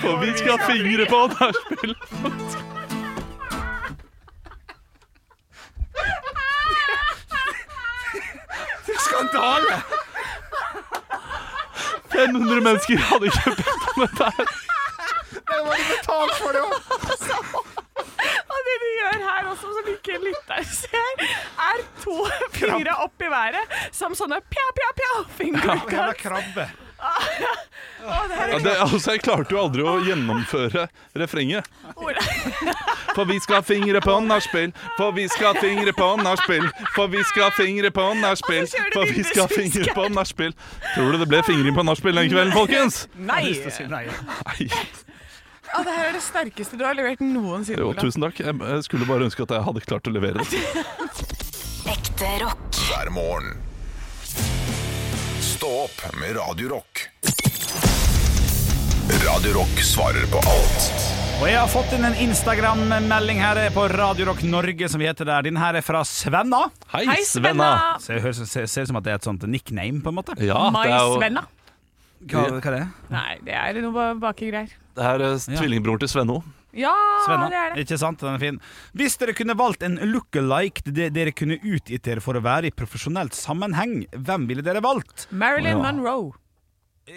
[SPEAKER 2] For vi skal fingre på nachspiel. Skandale! 500 mennesker hadde ikke bedt om dette her.
[SPEAKER 4] <laughs>
[SPEAKER 3] Og det de gjør her også, som ikke lytteren ser, er to fingre opp i været som sånne pja, pja, pja
[SPEAKER 5] Jævla
[SPEAKER 3] fingerkast.
[SPEAKER 5] krabbe.
[SPEAKER 2] Ja, det, altså, jeg klarte jo aldri å gjennomføre refrenget. For vi skal ha fingre på nachspiel, for vi skal ha fingre på nachspiel, for vi skal ha fingre på nachspiel,
[SPEAKER 3] Og så kjører det
[SPEAKER 2] for vi skal ha
[SPEAKER 3] vinduesvisker.
[SPEAKER 2] fingre på nachspiel. Tror du det ble fingring på nachspiel den kvelden, folkens?
[SPEAKER 3] Nei!
[SPEAKER 5] Nei.
[SPEAKER 2] Nei.
[SPEAKER 3] Ja, det her er det sterkeste du har levert noensinne.
[SPEAKER 2] Jo,
[SPEAKER 3] Olav.
[SPEAKER 2] tusen takk. Jeg jeg skulle bare ønske at jeg hadde klart å levere
[SPEAKER 3] <laughs>
[SPEAKER 2] det.
[SPEAKER 6] Ekte rock.
[SPEAKER 1] hver morgen. Stå opp med Radio Rock. Radio Rock svarer på alt.
[SPEAKER 4] Og jeg har fått inn en Instagram-melding her på Radio Rock Norge, som vi heter der. Din her er fra Svenna.
[SPEAKER 2] Hei,
[SPEAKER 3] Hei, Svenna!
[SPEAKER 4] Så jeg hører, ser, ser ut som at det er et sånt nickname, på en måte.
[SPEAKER 2] Ja, Ah, det er, jo,
[SPEAKER 3] Mais-Svenna.
[SPEAKER 4] Hva, hva er det?
[SPEAKER 3] Nei, det er noe ba- bakegreier.
[SPEAKER 2] det er eh, tvillingbroren til Svenno.
[SPEAKER 3] Ja,
[SPEAKER 4] Svenna.
[SPEAKER 3] det er det.
[SPEAKER 4] Ikke sant? Den er fin. Hvis dere kunne valgt en look-alike det dere kunne utgitt dere for å være i profesjonelt sammenheng, hvem ville dere valgt?
[SPEAKER 3] Marilyn Monroe.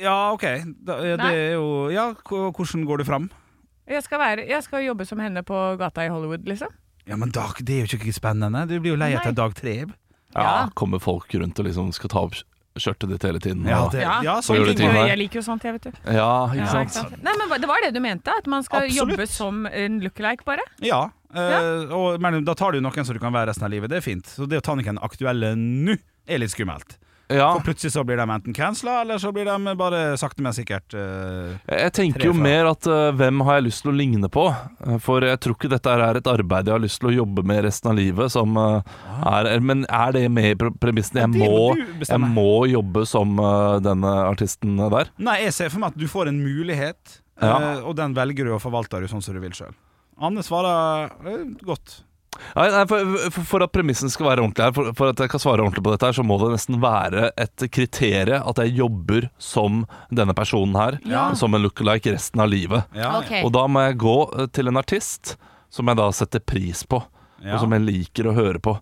[SPEAKER 4] Ja, OK. Da, ja, det er jo Ja, k- hvordan går du fram?
[SPEAKER 3] Jeg skal, være, jeg skal jobbe som henne på gata i Hollywood, liksom.
[SPEAKER 4] Ja, men da, det er jo ikke spennende. Du blir jo lei etter
[SPEAKER 3] Nei.
[SPEAKER 4] dag tre.
[SPEAKER 2] Ja, kommer folk rundt og liksom skal ta opp skjørtet ditt hele tiden.
[SPEAKER 4] Ja,
[SPEAKER 2] og-
[SPEAKER 4] det,
[SPEAKER 3] Ja.
[SPEAKER 4] ja,
[SPEAKER 2] Så
[SPEAKER 4] sånn
[SPEAKER 2] gjør det
[SPEAKER 4] ting.
[SPEAKER 2] ting.
[SPEAKER 3] Jeg,
[SPEAKER 2] her.
[SPEAKER 3] jeg liker jo sånt, jeg, vet du.
[SPEAKER 2] ja
[SPEAKER 3] Ja,
[SPEAKER 2] ikke sant?
[SPEAKER 3] Nei, men Det var det du mente? At man skal
[SPEAKER 4] Absolutt.
[SPEAKER 3] jobbe som en lookalike, bare?
[SPEAKER 4] Ja, eh, og, men da tar du noen som du kan være resten av livet. Det er fint. Så det å ta noen aktuelle nå er litt skummelt.
[SPEAKER 2] Ja,
[SPEAKER 4] For plutselig så blir de enten cancela, eller så blir de bare sakte, men sikkert eh,
[SPEAKER 2] jeg tenker jo
[SPEAKER 4] Tre fra.
[SPEAKER 2] mer at eh, hvem har jeg lyst til å ligne på? Eh, For jeg tror ikke dette her er et arbeid jeg har lyst til å jobbe med resten av livet. Som, eh, er, men er det med i pre- premissene? Jeg
[SPEAKER 4] Ah. det må
[SPEAKER 2] må,
[SPEAKER 4] du bestemme.
[SPEAKER 2] jeg må jobbe som eh, denne artisten eh, der.
[SPEAKER 4] Nei, jeg ser for meg at du får en mulighet, eh,
[SPEAKER 2] Ja.
[SPEAKER 4] og den velger du og forvalter du sånn som du vil sjøl. Anne svarer eh, godt.
[SPEAKER 2] Nei, nei, for, for- for at premissen skal være ordentlig her, for, for at jeg kan svare ordentlig på dette, her, så må det nesten være et kriterium at jeg jobber som denne personen her.
[SPEAKER 3] Ja.
[SPEAKER 2] Som en lookalike resten av livet.
[SPEAKER 4] Ja,
[SPEAKER 8] Ok.
[SPEAKER 2] Og da må jeg gå eh, til en artist som jeg da setter pris på,
[SPEAKER 4] Ja.
[SPEAKER 2] og som jeg liker å høre på.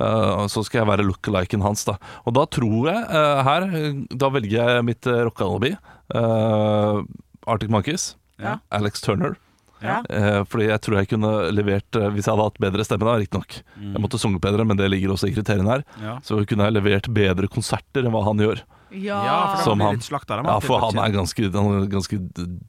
[SPEAKER 2] Eh, og så skal jeg være lookaliken hans, da. Og da tror jeg eh, her eh, Da velger jeg mitt uh, rockealibi. Eh, Arctic Monkeys.
[SPEAKER 4] Ja.
[SPEAKER 2] Alex Turner.
[SPEAKER 3] Ja.
[SPEAKER 2] Eh, fordi jeg tror jeg kunne levert eh, Hvis jeg hadde hatt bedre stemme, da, riktignok.
[SPEAKER 4] Mm.
[SPEAKER 2] Jeg måtte sunget bedre, men det ligger også i kriteriene her.
[SPEAKER 4] Ja.
[SPEAKER 2] Så kunne jeg levert bedre konserter enn hva han gjør.
[SPEAKER 3] Ja,
[SPEAKER 4] Ja, for da
[SPEAKER 2] Som
[SPEAKER 4] blir
[SPEAKER 2] han.
[SPEAKER 4] litt slakta.
[SPEAKER 2] Ja, for han er ganske, han er ganske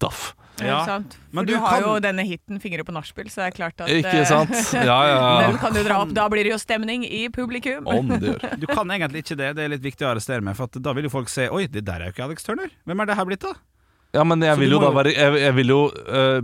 [SPEAKER 2] daff.
[SPEAKER 3] det er sant. For
[SPEAKER 4] Men
[SPEAKER 3] du,
[SPEAKER 4] du
[SPEAKER 3] har
[SPEAKER 4] kan-
[SPEAKER 3] jo denne hiten 'Fingre på nachspiel', så det er klart at eh,
[SPEAKER 2] Ikke
[SPEAKER 3] <laughs>
[SPEAKER 2] sant? Ja, ja.
[SPEAKER 3] Den
[SPEAKER 2] ja.
[SPEAKER 3] kan du dra opp. Da blir det jo stemning i publikum.
[SPEAKER 2] Om det
[SPEAKER 4] <laughs>
[SPEAKER 2] gjør.
[SPEAKER 4] Du kan egentlig ikke det, det er litt viktig å arrestere meg, for at da vil jo folk se Oi, det der er jo ikke Alex Turner. Hvem er det her blitt, da?
[SPEAKER 2] Ja, men jeg
[SPEAKER 4] Så
[SPEAKER 2] vil jo
[SPEAKER 4] du må
[SPEAKER 2] da
[SPEAKER 4] jo-
[SPEAKER 2] være Jeg, jeg vil jo eh,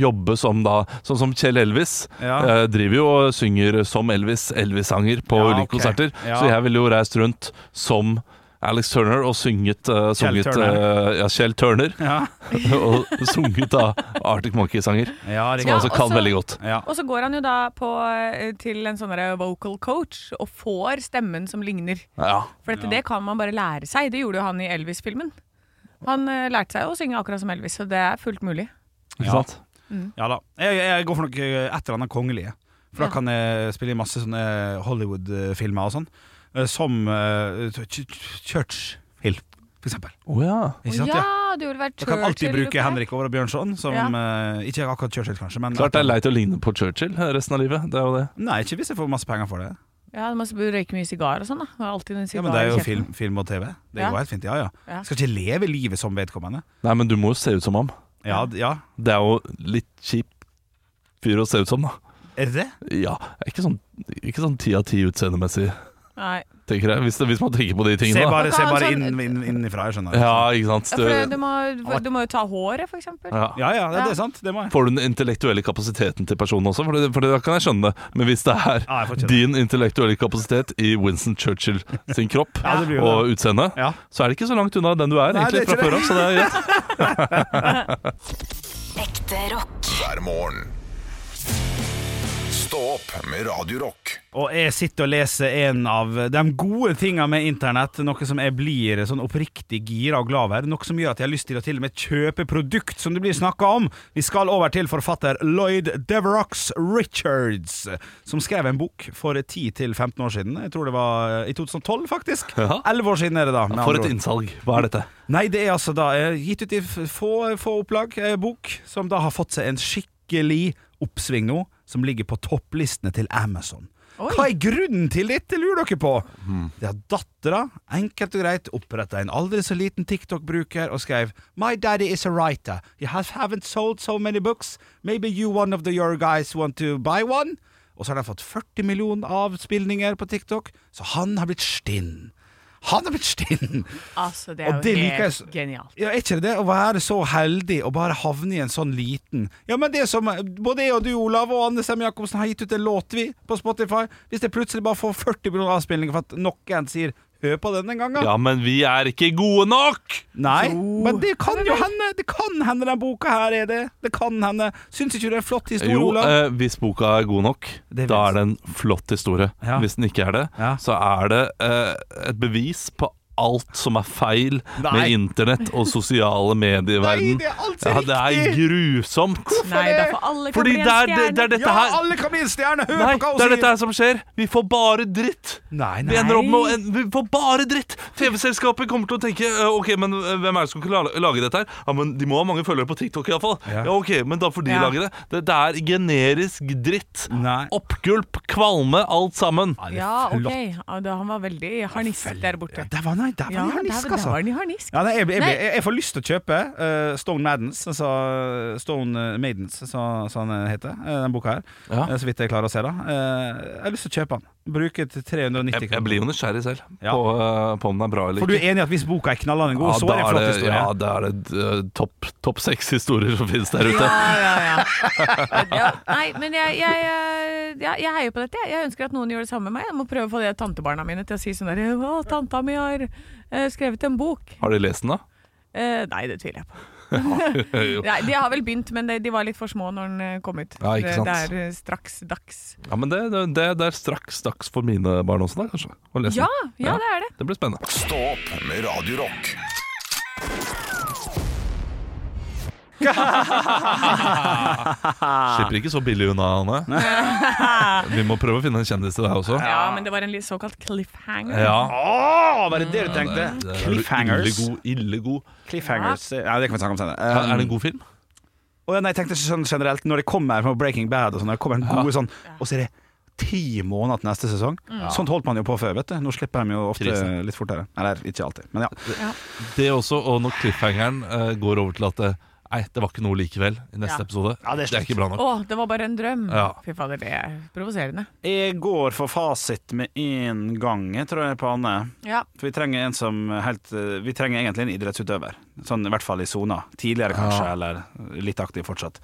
[SPEAKER 2] jobbe som da Sånn som Kjell Elvis.
[SPEAKER 4] Ja.
[SPEAKER 2] eh, driver jo og synger som Elvis, Elvis-sanger på
[SPEAKER 4] Ja,
[SPEAKER 2] ulike
[SPEAKER 4] ok.
[SPEAKER 2] konserter.
[SPEAKER 4] Ja.
[SPEAKER 2] Så jeg ville jo reist rundt som Alex Turner og sunget, eh, sunget
[SPEAKER 4] Turner.
[SPEAKER 2] eh, ja, Kjell Turner.
[SPEAKER 4] Ja,
[SPEAKER 2] <laughs> og sunget da Arctic Monkey-sanger. Som
[SPEAKER 4] ja riktig.
[SPEAKER 2] han
[SPEAKER 3] Ja,
[SPEAKER 2] altså kan
[SPEAKER 3] også-
[SPEAKER 2] veldig godt.
[SPEAKER 4] Ja.
[SPEAKER 3] Og så går han jo da på, eh, til en sånn der vocal coach og får stemmen som ligner.
[SPEAKER 2] Ja.
[SPEAKER 3] For dette, det kan man bare lære seg. Det gjorde jo han i Elvis-filmen. Han eh, lærte seg å synge akkurat som Elvis, så det er fullt mulig.
[SPEAKER 2] Ikke
[SPEAKER 4] Ja.
[SPEAKER 2] sant?
[SPEAKER 4] ja da. Jeg, jeg går for noe et eller annet kongelige. For da
[SPEAKER 3] Ja.
[SPEAKER 4] kan jeg spille i masse sånne eh, Hollywood-filmer og sånn. Eh, Som eh, Ch- Ch- Churchill, for eksempel.
[SPEAKER 2] Å ja.
[SPEAKER 4] Ikke sant?
[SPEAKER 3] ja,
[SPEAKER 4] Ja.
[SPEAKER 3] du vil være
[SPEAKER 4] Jeg kan alltid bruke Henrik Over og Bjørnson, som
[SPEAKER 3] Ja.
[SPEAKER 4] eh, ikke akkurat Churchill, kanskje. Men
[SPEAKER 2] Klart det er leit å ligne på Churchill resten av livet. Det er jo det.
[SPEAKER 4] Nei, ikke hvis jeg får masse penger for det.
[SPEAKER 3] Ja, Du må røyke mye sigar og sånn. da Du har Alltid en
[SPEAKER 4] Ja,
[SPEAKER 3] sigar
[SPEAKER 4] men det er
[SPEAKER 3] i
[SPEAKER 4] jo
[SPEAKER 3] kjeften.
[SPEAKER 4] film, film og TV. Det
[SPEAKER 3] Ja.
[SPEAKER 4] går helt fint. Ja, ja.
[SPEAKER 3] Ja.
[SPEAKER 4] Skal ikke leve livet som vedkommende.
[SPEAKER 2] Nei, men du må jo se ut som ham.
[SPEAKER 4] Ja, d- ja.
[SPEAKER 2] Det er jo litt kjip fyr å se ut som, da.
[SPEAKER 4] Er det det?
[SPEAKER 2] Ja, ikke sånn, ikke sånn 10 av 10 utseendemessig,
[SPEAKER 3] Nei.
[SPEAKER 2] tenker jeg. Hvis, det, hvis man tenker på de
[SPEAKER 4] Se
[SPEAKER 2] tingene. da.
[SPEAKER 4] bare,
[SPEAKER 3] Man
[SPEAKER 4] se
[SPEAKER 3] kan ha
[SPEAKER 4] bare
[SPEAKER 3] sånn-
[SPEAKER 4] inn, inn, innifra, jeg skjønner.
[SPEAKER 2] Ja, ikke sant.
[SPEAKER 3] Ja, for det- du, må, du må jo ta håret, for eksempel.
[SPEAKER 2] ja.
[SPEAKER 4] Ja, ja, det, det er sant. Det må jeg.
[SPEAKER 2] Får du den intellektuelle kapasiteten til personen også? For, det, for det, da kan jeg skjønne det. Men hvis det er
[SPEAKER 4] Ja, jeg får ikke det.
[SPEAKER 2] din intellektuelle kapasitet i Winston Churchill sin kropp
[SPEAKER 4] Ja, det blir jo det.
[SPEAKER 2] og utseende,
[SPEAKER 4] Ja.
[SPEAKER 2] så er det ikke så langt unna den du er,
[SPEAKER 4] Nei,
[SPEAKER 2] egentlig,
[SPEAKER 4] det
[SPEAKER 2] fra
[SPEAKER 4] er ikke
[SPEAKER 2] før av. Så det er greit.
[SPEAKER 6] Ekte rock.
[SPEAKER 1] hver morgen. Stå opp med Radio Rock.
[SPEAKER 4] Og jeg sitter og leser en av de gode tinga med internett, noe som jeg blir sånn oppriktig gira og glad over. Noe som gjør at jeg har lyst til å til og med kjøpe produkt som det blir snakka om. Vi skal over til forfatter Lloyd Deverox Richards, som skrev en bok for 10-15 år siden. Jeg tror det var eh, i 2012, faktisk.
[SPEAKER 2] Ja.
[SPEAKER 4] Elleve år siden er det da. med
[SPEAKER 2] <laughs> For
[SPEAKER 4] andre
[SPEAKER 2] et
[SPEAKER 4] ord.
[SPEAKER 2] innsalg. Hva er dette?
[SPEAKER 4] Nei, det er altså da eh, gitt ut i f- få, få opplag eh, bok, som da har fått seg en skikkelig oppsving nå, som ligger på topplistene til Amazon.
[SPEAKER 3] Oi.
[SPEAKER 4] Hva er grunnen til dette, lurer dere på? Det er dattera, enkelt og greit, oppretta en aldri så liten TikTok-bruker og skrev My daddy is a writer. You have, haven't sold so many books. Maybe you one of the your guys want to buy one? Og så har de fått 40 millioner avspilninger på TikTok, så han har blitt stinn. Han har blitt stinn!
[SPEAKER 3] Altså, det
[SPEAKER 4] Og
[SPEAKER 3] er jo
[SPEAKER 4] det liker jeg
[SPEAKER 3] helt
[SPEAKER 4] så-
[SPEAKER 3] genialt.
[SPEAKER 4] Ja, er ikke det det? Å være så heldig og bare havne i en sånn liten Ja, men det som Både jeg og du, Olav, og Anne Sem Jacobsen har gitt ut en låt, vi, på Spotify. Hvis jeg plutselig bare får 40 millioner avspillinger for at noen sier 'hør på den en gang', da.
[SPEAKER 2] Ja, men vi er ikke gode nok!
[SPEAKER 4] Nei, men det kan jo hende. Det kan hende den boka her er det. Det kan hende. Syns ikke du det er en flott historie,
[SPEAKER 2] Jo,
[SPEAKER 4] Olav?
[SPEAKER 2] eh, hvis boka er god nok,
[SPEAKER 4] Det
[SPEAKER 2] da
[SPEAKER 4] vet-
[SPEAKER 2] er det en flott historie.
[SPEAKER 4] Ja.
[SPEAKER 2] Hvis den ikke er det,
[SPEAKER 4] Ja.
[SPEAKER 2] så er det eh, et bevis på alt som er feil
[SPEAKER 4] Nei.
[SPEAKER 2] med internett og sosiale medier i
[SPEAKER 4] Nei,
[SPEAKER 2] verden.
[SPEAKER 4] det er alt
[SPEAKER 2] Ja,
[SPEAKER 4] som
[SPEAKER 2] det
[SPEAKER 4] er
[SPEAKER 2] er
[SPEAKER 4] riktig!
[SPEAKER 2] grusomt!
[SPEAKER 3] Nei, det er for alle kan
[SPEAKER 2] Fordi
[SPEAKER 3] bli en
[SPEAKER 2] det er, det, det
[SPEAKER 3] stjerne.
[SPEAKER 2] er dette
[SPEAKER 4] Ja,
[SPEAKER 2] her
[SPEAKER 4] alle kan bli en stjerne! Hør
[SPEAKER 2] Nei,
[SPEAKER 4] på hva hun
[SPEAKER 2] det er dette
[SPEAKER 4] sier!
[SPEAKER 2] her som skjer! Vi får bare dritt!
[SPEAKER 4] Nei,
[SPEAKER 2] Vi
[SPEAKER 4] nei.
[SPEAKER 2] ender opp med en, Vi får bare dritt! TV-selskapet kommer til å tenke eh, Ok, men eh, hvem er det som kunne la- lage dette her? Ja, men De må ha mange følgere på TikTok iallfall.
[SPEAKER 4] Ja.
[SPEAKER 2] Ja. ja, ok, men da får de
[SPEAKER 3] Ja.
[SPEAKER 2] lage det. det. Det er generisk dritt.
[SPEAKER 4] Nei.
[SPEAKER 2] Oppgulp, kvalme, alt sammen.
[SPEAKER 4] Ja, det er
[SPEAKER 3] Ja,
[SPEAKER 4] flott.
[SPEAKER 3] ok. Ja, da, han var veldig harnisk der borte.
[SPEAKER 4] Ja, Der var, nei, der var
[SPEAKER 3] Ja,
[SPEAKER 4] han i harnisk,
[SPEAKER 3] der, der
[SPEAKER 4] altså.
[SPEAKER 3] var den i harnisk.
[SPEAKER 4] Ja, nei, jeg, jeg,
[SPEAKER 3] Nei.
[SPEAKER 4] jeg, jeg får lyst til å kjøpe eh, Stone Maddens, altså Stone eh, Maidens, som han heter, eh, den boka her.
[SPEAKER 2] Ja.
[SPEAKER 4] Eh, så vidt jeg klarer å se, da. Eh, jeg har lyst til å kjøpe den. Bruke til 390
[SPEAKER 2] Jeg, jeg blir jo nysgjerrig selv
[SPEAKER 4] Ja.
[SPEAKER 2] på, eh, på om den er bra eller
[SPEAKER 4] For du
[SPEAKER 2] ikke.
[SPEAKER 4] er enig i at hvis boka er knallende god,
[SPEAKER 2] Ja,
[SPEAKER 4] så
[SPEAKER 2] da
[SPEAKER 4] er det en flott
[SPEAKER 2] er det,
[SPEAKER 4] historie?
[SPEAKER 2] ja, da er det eh, topp topp seks historier som finnes der ute.
[SPEAKER 3] ja, ja. ja. Nei, men jeg, jeg, jeg, jeg, jeg heier på dette. Jeg Jeg ønsker at noen gjør det samme med meg. Jeg må prøve å få de tantebarna mine til å si sånn der Å, tanta mi har eh, skrevet en bok.
[SPEAKER 2] Har de lest den, da?
[SPEAKER 3] Eh, nei, det tviler jeg på.
[SPEAKER 2] Jo.
[SPEAKER 3] Nei, de har vel begynt, men de, de var litt for små når den eh, kom ut.
[SPEAKER 2] Ja, ikke
[SPEAKER 3] Det-
[SPEAKER 2] sant.
[SPEAKER 3] Det er eh, straks dags.
[SPEAKER 2] Ja, men det, det, det er straks dags for mine barn også, da, kanskje. å lese
[SPEAKER 3] Ja,
[SPEAKER 2] den.
[SPEAKER 3] ja, det er det.
[SPEAKER 2] Det blir spennende.
[SPEAKER 1] Stå opp med Radio Rock.
[SPEAKER 2] Slipper ikke så billig unna,
[SPEAKER 4] <laughs>
[SPEAKER 2] Anne. Vi må prøve å finne en kjendis til deg også.
[SPEAKER 3] Ja, men det var en litt såkalt cliffhanger.
[SPEAKER 2] Ja.
[SPEAKER 4] Åh, var det det du tenkte?
[SPEAKER 2] Det er jo Ille
[SPEAKER 4] Cliffhangers.
[SPEAKER 2] god, ille god.
[SPEAKER 4] Cliffhangers Nei, det kan vi snakke om senere.
[SPEAKER 2] Er det en god film?
[SPEAKER 4] Å ja, nei, jeg tenkte sånn generelt Når det kommer fra Breaking Bad og sånn, når det kommer en god sånn Og så er det ti måneder til neste sesong. Sånt holdt man jo på før, vet du. Nå slipper de jo ofte
[SPEAKER 2] Mm. Krise.
[SPEAKER 4] litt fortere. Eller ikke alltid, men ja.
[SPEAKER 2] Det også, og når cliffhangeren eh, går over til at det, Nei, det var ikke noe likevel i neste
[SPEAKER 3] Ja.
[SPEAKER 2] episode.
[SPEAKER 4] Ja, det er
[SPEAKER 2] det er ikke bra nok.
[SPEAKER 3] Å, det var bare en drøm.
[SPEAKER 2] Ja.
[SPEAKER 3] Fy fader, det er provoserende.
[SPEAKER 4] Jeg går for fasit med én gang, jeg tror jeg, på Anne.
[SPEAKER 3] Ja.
[SPEAKER 4] For vi trenger en som helt eh, Vi trenger egentlig en idrettsutøver. Sånn i hvert fall i sona. Tidligere kanskje, eller litt aktiv fortsatt.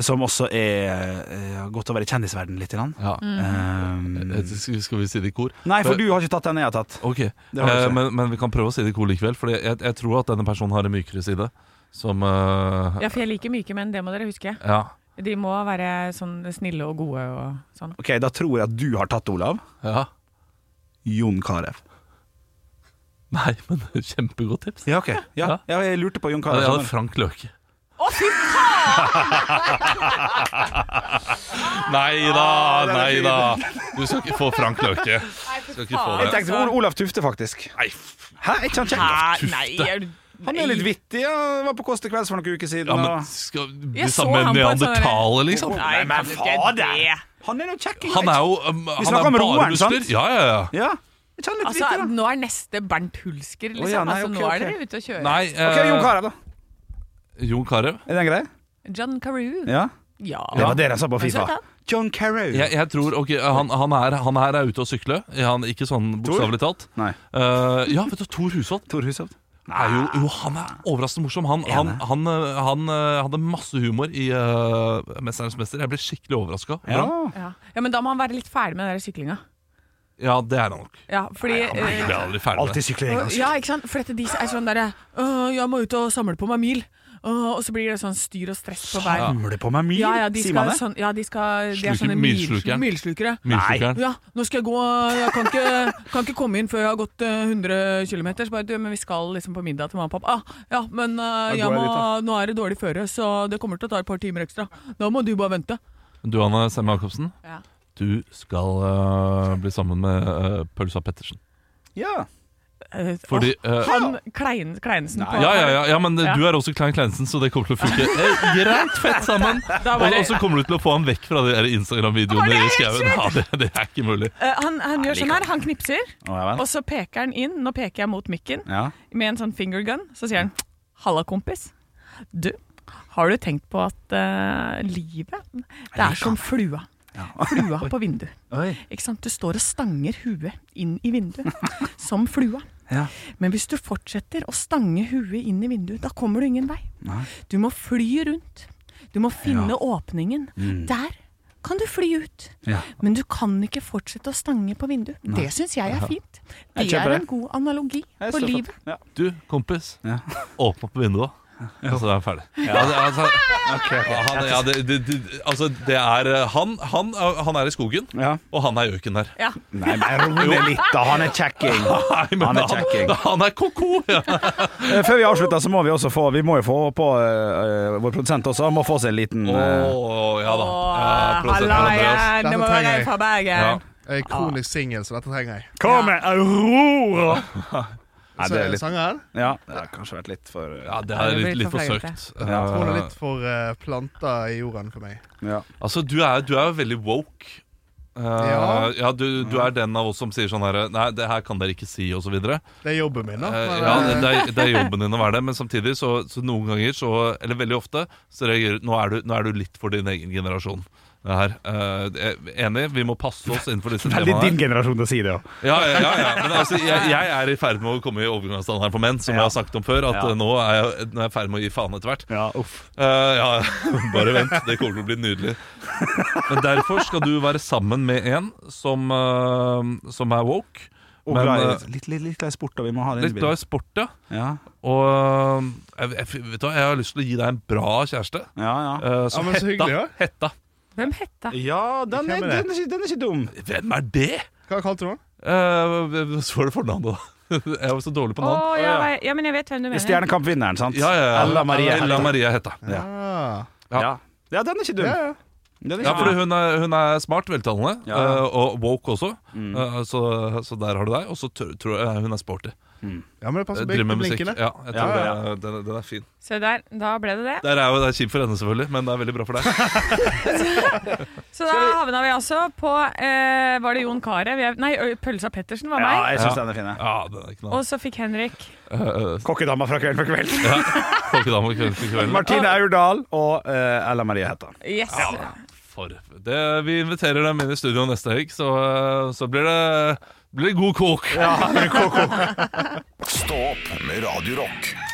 [SPEAKER 4] Som også er eh, har gått over i kjendisverden litt. Grann.
[SPEAKER 2] Ja.
[SPEAKER 4] Eh,
[SPEAKER 2] Eh, Skal skal vi si det i kor? Eh,
[SPEAKER 4] nei, for du har ikke tatt den jeg har tatt.
[SPEAKER 2] Ok,
[SPEAKER 4] har vi
[SPEAKER 2] eh,
[SPEAKER 4] ikke.
[SPEAKER 2] men, men vi kan prøve å si det i kor likevel. For jeg, jeg tror at denne personen har en mykere side. Som eh,
[SPEAKER 3] ja, for jeg liker myke menn, det må dere huske.
[SPEAKER 2] ja.
[SPEAKER 3] De må være sånn snille og gode og sånn.
[SPEAKER 4] Ok, Da tror jeg at du har tatt Olav.
[SPEAKER 2] ja.
[SPEAKER 4] Jon Carew.
[SPEAKER 2] Nei, men <laughs> det er kjempegodt tips.
[SPEAKER 4] Ja, ok. Ja. Ja, jeg lurte på Jon
[SPEAKER 2] Ja,
[SPEAKER 4] Carew.
[SPEAKER 2] jeg hadde
[SPEAKER 4] sånn.
[SPEAKER 2] Frank Løke. Nei da,
[SPEAKER 4] Ah,
[SPEAKER 2] nei da. Du skal ikke få Frank Løke. Skal ikke få
[SPEAKER 4] Jeg
[SPEAKER 2] det.
[SPEAKER 4] tenkte på Olav Tufte, faktisk.
[SPEAKER 2] Nei, f-
[SPEAKER 4] Hæ, er ikke han kjekk?
[SPEAKER 3] Hæ, nei, er du
[SPEAKER 4] Han er litt vittig. Han var på Kåss til kvelds for noen uker siden.
[SPEAKER 2] ja, men
[SPEAKER 4] og-
[SPEAKER 2] skal bli
[SPEAKER 3] Jeg så
[SPEAKER 2] sammen
[SPEAKER 3] han
[SPEAKER 2] med
[SPEAKER 3] på en sånn-
[SPEAKER 2] neandertaler, liksom?
[SPEAKER 3] Nei, men fader!
[SPEAKER 4] Han er noe kjekk.
[SPEAKER 2] Han er jo um, Han
[SPEAKER 4] snakker
[SPEAKER 2] er
[SPEAKER 4] om
[SPEAKER 2] bare
[SPEAKER 4] roeren, sant?
[SPEAKER 2] muskler. Ja, ja, ja.
[SPEAKER 4] Ja, jeg kjenner litt
[SPEAKER 3] Altså,
[SPEAKER 4] vittig, da.
[SPEAKER 3] nå er neste Bernt Hulsker, liksom.
[SPEAKER 4] Å, ja, nei,
[SPEAKER 3] altså,
[SPEAKER 4] ok,
[SPEAKER 3] nå
[SPEAKER 4] ok.
[SPEAKER 3] er dere ute og kjører.
[SPEAKER 2] Nei,
[SPEAKER 4] Ok, Jon
[SPEAKER 2] eh,
[SPEAKER 4] Carew, da.
[SPEAKER 2] Jon Carew.
[SPEAKER 4] Er den grei?
[SPEAKER 3] John Carew.
[SPEAKER 4] Ja.
[SPEAKER 3] Ja.
[SPEAKER 4] Det var det de sa på
[SPEAKER 3] Men så
[SPEAKER 4] Fifa.
[SPEAKER 3] kan-
[SPEAKER 4] John Carew.
[SPEAKER 2] Jeg, jeg tror, ok, han, han, er, han her er ute og sykle. Han, ikke sånn bokstavelig talt.
[SPEAKER 4] Nei.
[SPEAKER 2] Eh, ja, vet du, Thor Hushovd
[SPEAKER 4] Tor Hushovd.
[SPEAKER 2] er jo,
[SPEAKER 4] Ah.
[SPEAKER 2] jo Han er overraskende morsom. Han, han, han, eh, han eh, hadde masse humor i eh, 'Mesternes mester'. Jeg ble skikkelig overraska.
[SPEAKER 4] Ja.
[SPEAKER 3] Ja. ja, men da må han være litt ferdig med den der syklinga.
[SPEAKER 2] ja, det er han nok.
[SPEAKER 3] Ja, fordi eh,
[SPEAKER 2] Jeg ble aldri ferdig med det.
[SPEAKER 4] Alltid syklering. altså.
[SPEAKER 3] Ja, ikke sant? For dette, de er sånn derre «Åh, Jeg må ut og samle på meg mil. Åh, og så blir det sånn styr og stress på hver
[SPEAKER 4] Samler på meg mil,
[SPEAKER 3] Ja, ja, de
[SPEAKER 4] sier
[SPEAKER 3] skal,
[SPEAKER 4] man det?
[SPEAKER 3] sånn, ja, de skal De er
[SPEAKER 2] Sluker-
[SPEAKER 3] sånne mil-
[SPEAKER 2] milslukeren.
[SPEAKER 3] milslukere.
[SPEAKER 2] Milslukeren.
[SPEAKER 3] Ja, nå skal jeg gå Jeg kan ikke, kan ikke komme inn før jeg har gått eh, 100 km. Så bare, du, men vi skal liksom på middag til mamma og pappa. Ah, ja, men eh,
[SPEAKER 4] Da
[SPEAKER 3] jeg
[SPEAKER 4] går jeg
[SPEAKER 3] må,
[SPEAKER 4] litt,
[SPEAKER 3] nå er det dårlig føre, så det kommer til å ta et par timer ekstra. Da må du bare vente.
[SPEAKER 2] Du, Anne Semme Jacobsen,
[SPEAKER 3] Ja.
[SPEAKER 2] du skal eh, bli sammen med eh, Pølsa Pettersen.
[SPEAKER 4] Ja.
[SPEAKER 3] Eh,
[SPEAKER 2] Fordi
[SPEAKER 3] åh,
[SPEAKER 2] eh,
[SPEAKER 3] han Klein, Kleinsen på
[SPEAKER 2] ja, ja, ja, ja, men eh,
[SPEAKER 3] Ja.
[SPEAKER 2] du er også Klein Kleinsen, så det kommer til å
[SPEAKER 4] <laughs>
[SPEAKER 2] funke eh, greit fett sammen.
[SPEAKER 3] Da
[SPEAKER 2] Og
[SPEAKER 3] bare-
[SPEAKER 2] og så kommer du til å få han vekk fra de der
[SPEAKER 3] Å, det
[SPEAKER 2] Instagram-videoene
[SPEAKER 3] er
[SPEAKER 2] i
[SPEAKER 3] helt
[SPEAKER 2] skauen. Ja, det, det er ikke mulig.
[SPEAKER 3] Eh, han, han gjør sånn her. Han knipser,
[SPEAKER 4] Å, ja, vel.
[SPEAKER 3] og så peker han inn. Nå peker jeg mot mikken.
[SPEAKER 4] Ja.
[SPEAKER 3] med en sånn finger gun, så sier han Halla, kompis. Du, har du tenkt på at eh, livet Det er som flua. Flua på vindu.
[SPEAKER 4] Oi.
[SPEAKER 3] Ikke sant? Du står og stanger huet inn i vinduet, som flua.
[SPEAKER 4] Ja.
[SPEAKER 3] Men hvis du fortsetter å stange huet inn i vinduet, da kommer du ingen vei.
[SPEAKER 4] Nei.
[SPEAKER 3] Du må fly rundt. Du må finne åpningen. Der kan du fly ut.
[SPEAKER 4] Ja.
[SPEAKER 3] Men du kan ikke fortsette å stange på vinduet. Det syns jeg er fint. Det
[SPEAKER 4] Jeg kjøper
[SPEAKER 3] er
[SPEAKER 4] det.
[SPEAKER 3] en god analogi
[SPEAKER 4] Jeg
[SPEAKER 3] på
[SPEAKER 4] står for-
[SPEAKER 3] livet.
[SPEAKER 4] Ja.
[SPEAKER 2] Du, kompis,
[SPEAKER 4] Ja.
[SPEAKER 2] åpne opp vinduet, da. Og så er han ferdig. Ja, det,
[SPEAKER 3] <laughs>
[SPEAKER 2] altså, han, ja, det, det, det, altså, det er eh, han, han, er- han er i skogen,
[SPEAKER 4] Ja.
[SPEAKER 2] og han er i gjøken der. <laughs>
[SPEAKER 4] Nei, men ro deg litt, da. Han er kjekking.
[SPEAKER 2] Nei, men
[SPEAKER 4] Han er
[SPEAKER 2] han,
[SPEAKER 4] kjekking.
[SPEAKER 2] <laughs> han er ko-ko! Ja.
[SPEAKER 4] Eh, <laughs> Før vi avslutter, så må vi også få Vi må jo få på eh, eh, vår produsent også. Han må få seg en liten eh,
[SPEAKER 2] Å, ja da. Ja,
[SPEAKER 3] Åh,
[SPEAKER 2] produsent
[SPEAKER 3] Halla
[SPEAKER 2] Andreas.
[SPEAKER 3] igjen! Det må
[SPEAKER 9] Dette trenger
[SPEAKER 3] være
[SPEAKER 9] jeg.
[SPEAKER 3] fra
[SPEAKER 2] Ja.
[SPEAKER 3] Bergen.
[SPEAKER 9] Jeg er kronisk singel, så dette trenger jeg.
[SPEAKER 4] Kom med <laughs> Aurora! Nei,
[SPEAKER 9] Så
[SPEAKER 4] det er
[SPEAKER 9] er det
[SPEAKER 4] litt
[SPEAKER 9] sanger her.
[SPEAKER 4] Ja, det har kanskje vært litt for eh,
[SPEAKER 2] Ja, det
[SPEAKER 3] Ja,
[SPEAKER 2] er
[SPEAKER 3] det blir
[SPEAKER 2] litt, litt
[SPEAKER 3] for
[SPEAKER 2] for
[SPEAKER 3] flaut,
[SPEAKER 2] søkt.
[SPEAKER 9] Jeg tror det er
[SPEAKER 2] Eh,
[SPEAKER 9] litt for eh, planta i jorden for meg.
[SPEAKER 4] ja.
[SPEAKER 2] Altså, du er, du er jo veldig woke. Eh, ja,
[SPEAKER 9] Ja.
[SPEAKER 2] du, du er den av oss som sier sånn her Nei, det her kan dere ikke si, og så videre.
[SPEAKER 9] Det er jobben min, da.
[SPEAKER 2] Eh,
[SPEAKER 9] Men,
[SPEAKER 2] ja,
[SPEAKER 9] eh,
[SPEAKER 2] det, det, er, det er jobben din å være det, men samtidig så, så noen ganger, så, eller veldig ofte, så reagerer nå er du Nå er du litt for din egen generasjon. Det her. Eh, jeg er enig, vi må passe oss innenfor
[SPEAKER 4] <laughs>
[SPEAKER 2] disse
[SPEAKER 4] Veldig din
[SPEAKER 2] temaene. her.
[SPEAKER 4] generasjon til å si det òg.
[SPEAKER 2] Ja, ja, ja, ja. Men altså, jeg, jeg er i ferd med å komme i overgangsstandarden for menn, som jeg har snakket om før. At
[SPEAKER 4] Ja.
[SPEAKER 2] eh, nå er jeg, nå er jeg i ferd med å gi faen etter hvert.
[SPEAKER 4] Ja, uff.
[SPEAKER 2] Eh, ja, <laughs> bare vent. Det kommer til å bli nydelig. Men derfor skal du være sammen med en som, eh, som er woke.
[SPEAKER 4] Og
[SPEAKER 2] Men,
[SPEAKER 4] glad i,
[SPEAKER 2] eh,
[SPEAKER 4] litt, litt, litt glad i sport, da. Vi må ha det
[SPEAKER 2] Litt glad i sport, ja.
[SPEAKER 4] Ja,
[SPEAKER 2] Og eh, jeg, jeg, vet du hva, jeg har lyst til å gi deg en bra kjæreste.
[SPEAKER 4] ja. ja.
[SPEAKER 2] eh, som
[SPEAKER 9] Ja, men så hyggelig, ja.
[SPEAKER 2] Hetta.
[SPEAKER 3] Hvem hetta?
[SPEAKER 4] Ja, den er,
[SPEAKER 9] Hvem er
[SPEAKER 4] den,
[SPEAKER 9] det?
[SPEAKER 4] er ikke, den er ikke dum.
[SPEAKER 2] Hvem er det?
[SPEAKER 9] Hva kalte du den?
[SPEAKER 2] Uh, så var det fornavnet, da. <laughs> Jeg var så dårlig på
[SPEAKER 3] Å,
[SPEAKER 2] navn.
[SPEAKER 3] ja, hva- ja, men jeg vet hvem du mener.
[SPEAKER 4] Stjernekamp-vinneren, sant?
[SPEAKER 2] Ja, ja, ja.
[SPEAKER 4] Ella Marie
[SPEAKER 2] Ella
[SPEAKER 4] Hetta.
[SPEAKER 2] Maria Hetta.
[SPEAKER 4] Ja.
[SPEAKER 9] Ah.
[SPEAKER 2] Ja.
[SPEAKER 4] Ja. ja, den er ikke dum.
[SPEAKER 9] Ja, ja.
[SPEAKER 4] Den er
[SPEAKER 2] Ja,
[SPEAKER 4] ikke
[SPEAKER 2] fordi
[SPEAKER 4] dum.
[SPEAKER 2] hun er, hun er smart, veltalende,
[SPEAKER 4] Ja, Mm. ja.
[SPEAKER 2] eh, og woke også. Eh, så, så der har du deg. Og så tør- tror jeg eh, hun er sporty. Eh,
[SPEAKER 9] ja, men det passer
[SPEAKER 2] Driver med
[SPEAKER 9] med
[SPEAKER 2] musikk.
[SPEAKER 9] blinkene.
[SPEAKER 2] Ja, jeg tror
[SPEAKER 4] Ja, ja,
[SPEAKER 2] det er- Den, den er fin.
[SPEAKER 3] Se der, da ble det det.
[SPEAKER 2] Der er jo, det er kjipt for henne, selvfølgelig, men det er veldig bra for
[SPEAKER 4] <laughs>
[SPEAKER 2] deg.
[SPEAKER 3] Så da havna vi altså på eh, Var det Jon Carew? Jeg- Nei, Ø- Pølsa Pettersen var
[SPEAKER 4] Ja,
[SPEAKER 3] meg.
[SPEAKER 4] jeg syns
[SPEAKER 2] Ja.
[SPEAKER 4] den er fin. jeg.
[SPEAKER 2] Ja, den er knall.
[SPEAKER 3] Og så fikk Henrik
[SPEAKER 2] Uh,
[SPEAKER 4] Kokkedama fra kveld for kveld.
[SPEAKER 2] ja. Folkedame og kveld til kvelden.
[SPEAKER 4] Martine Aurdal og eh, Ella Marie Hetta.
[SPEAKER 3] Yes.
[SPEAKER 2] For, det, vi inviterer dem inn i studio neste helg, så, eh, så blir det blir det god kåk.
[SPEAKER 1] Stå opp med Radio Rock.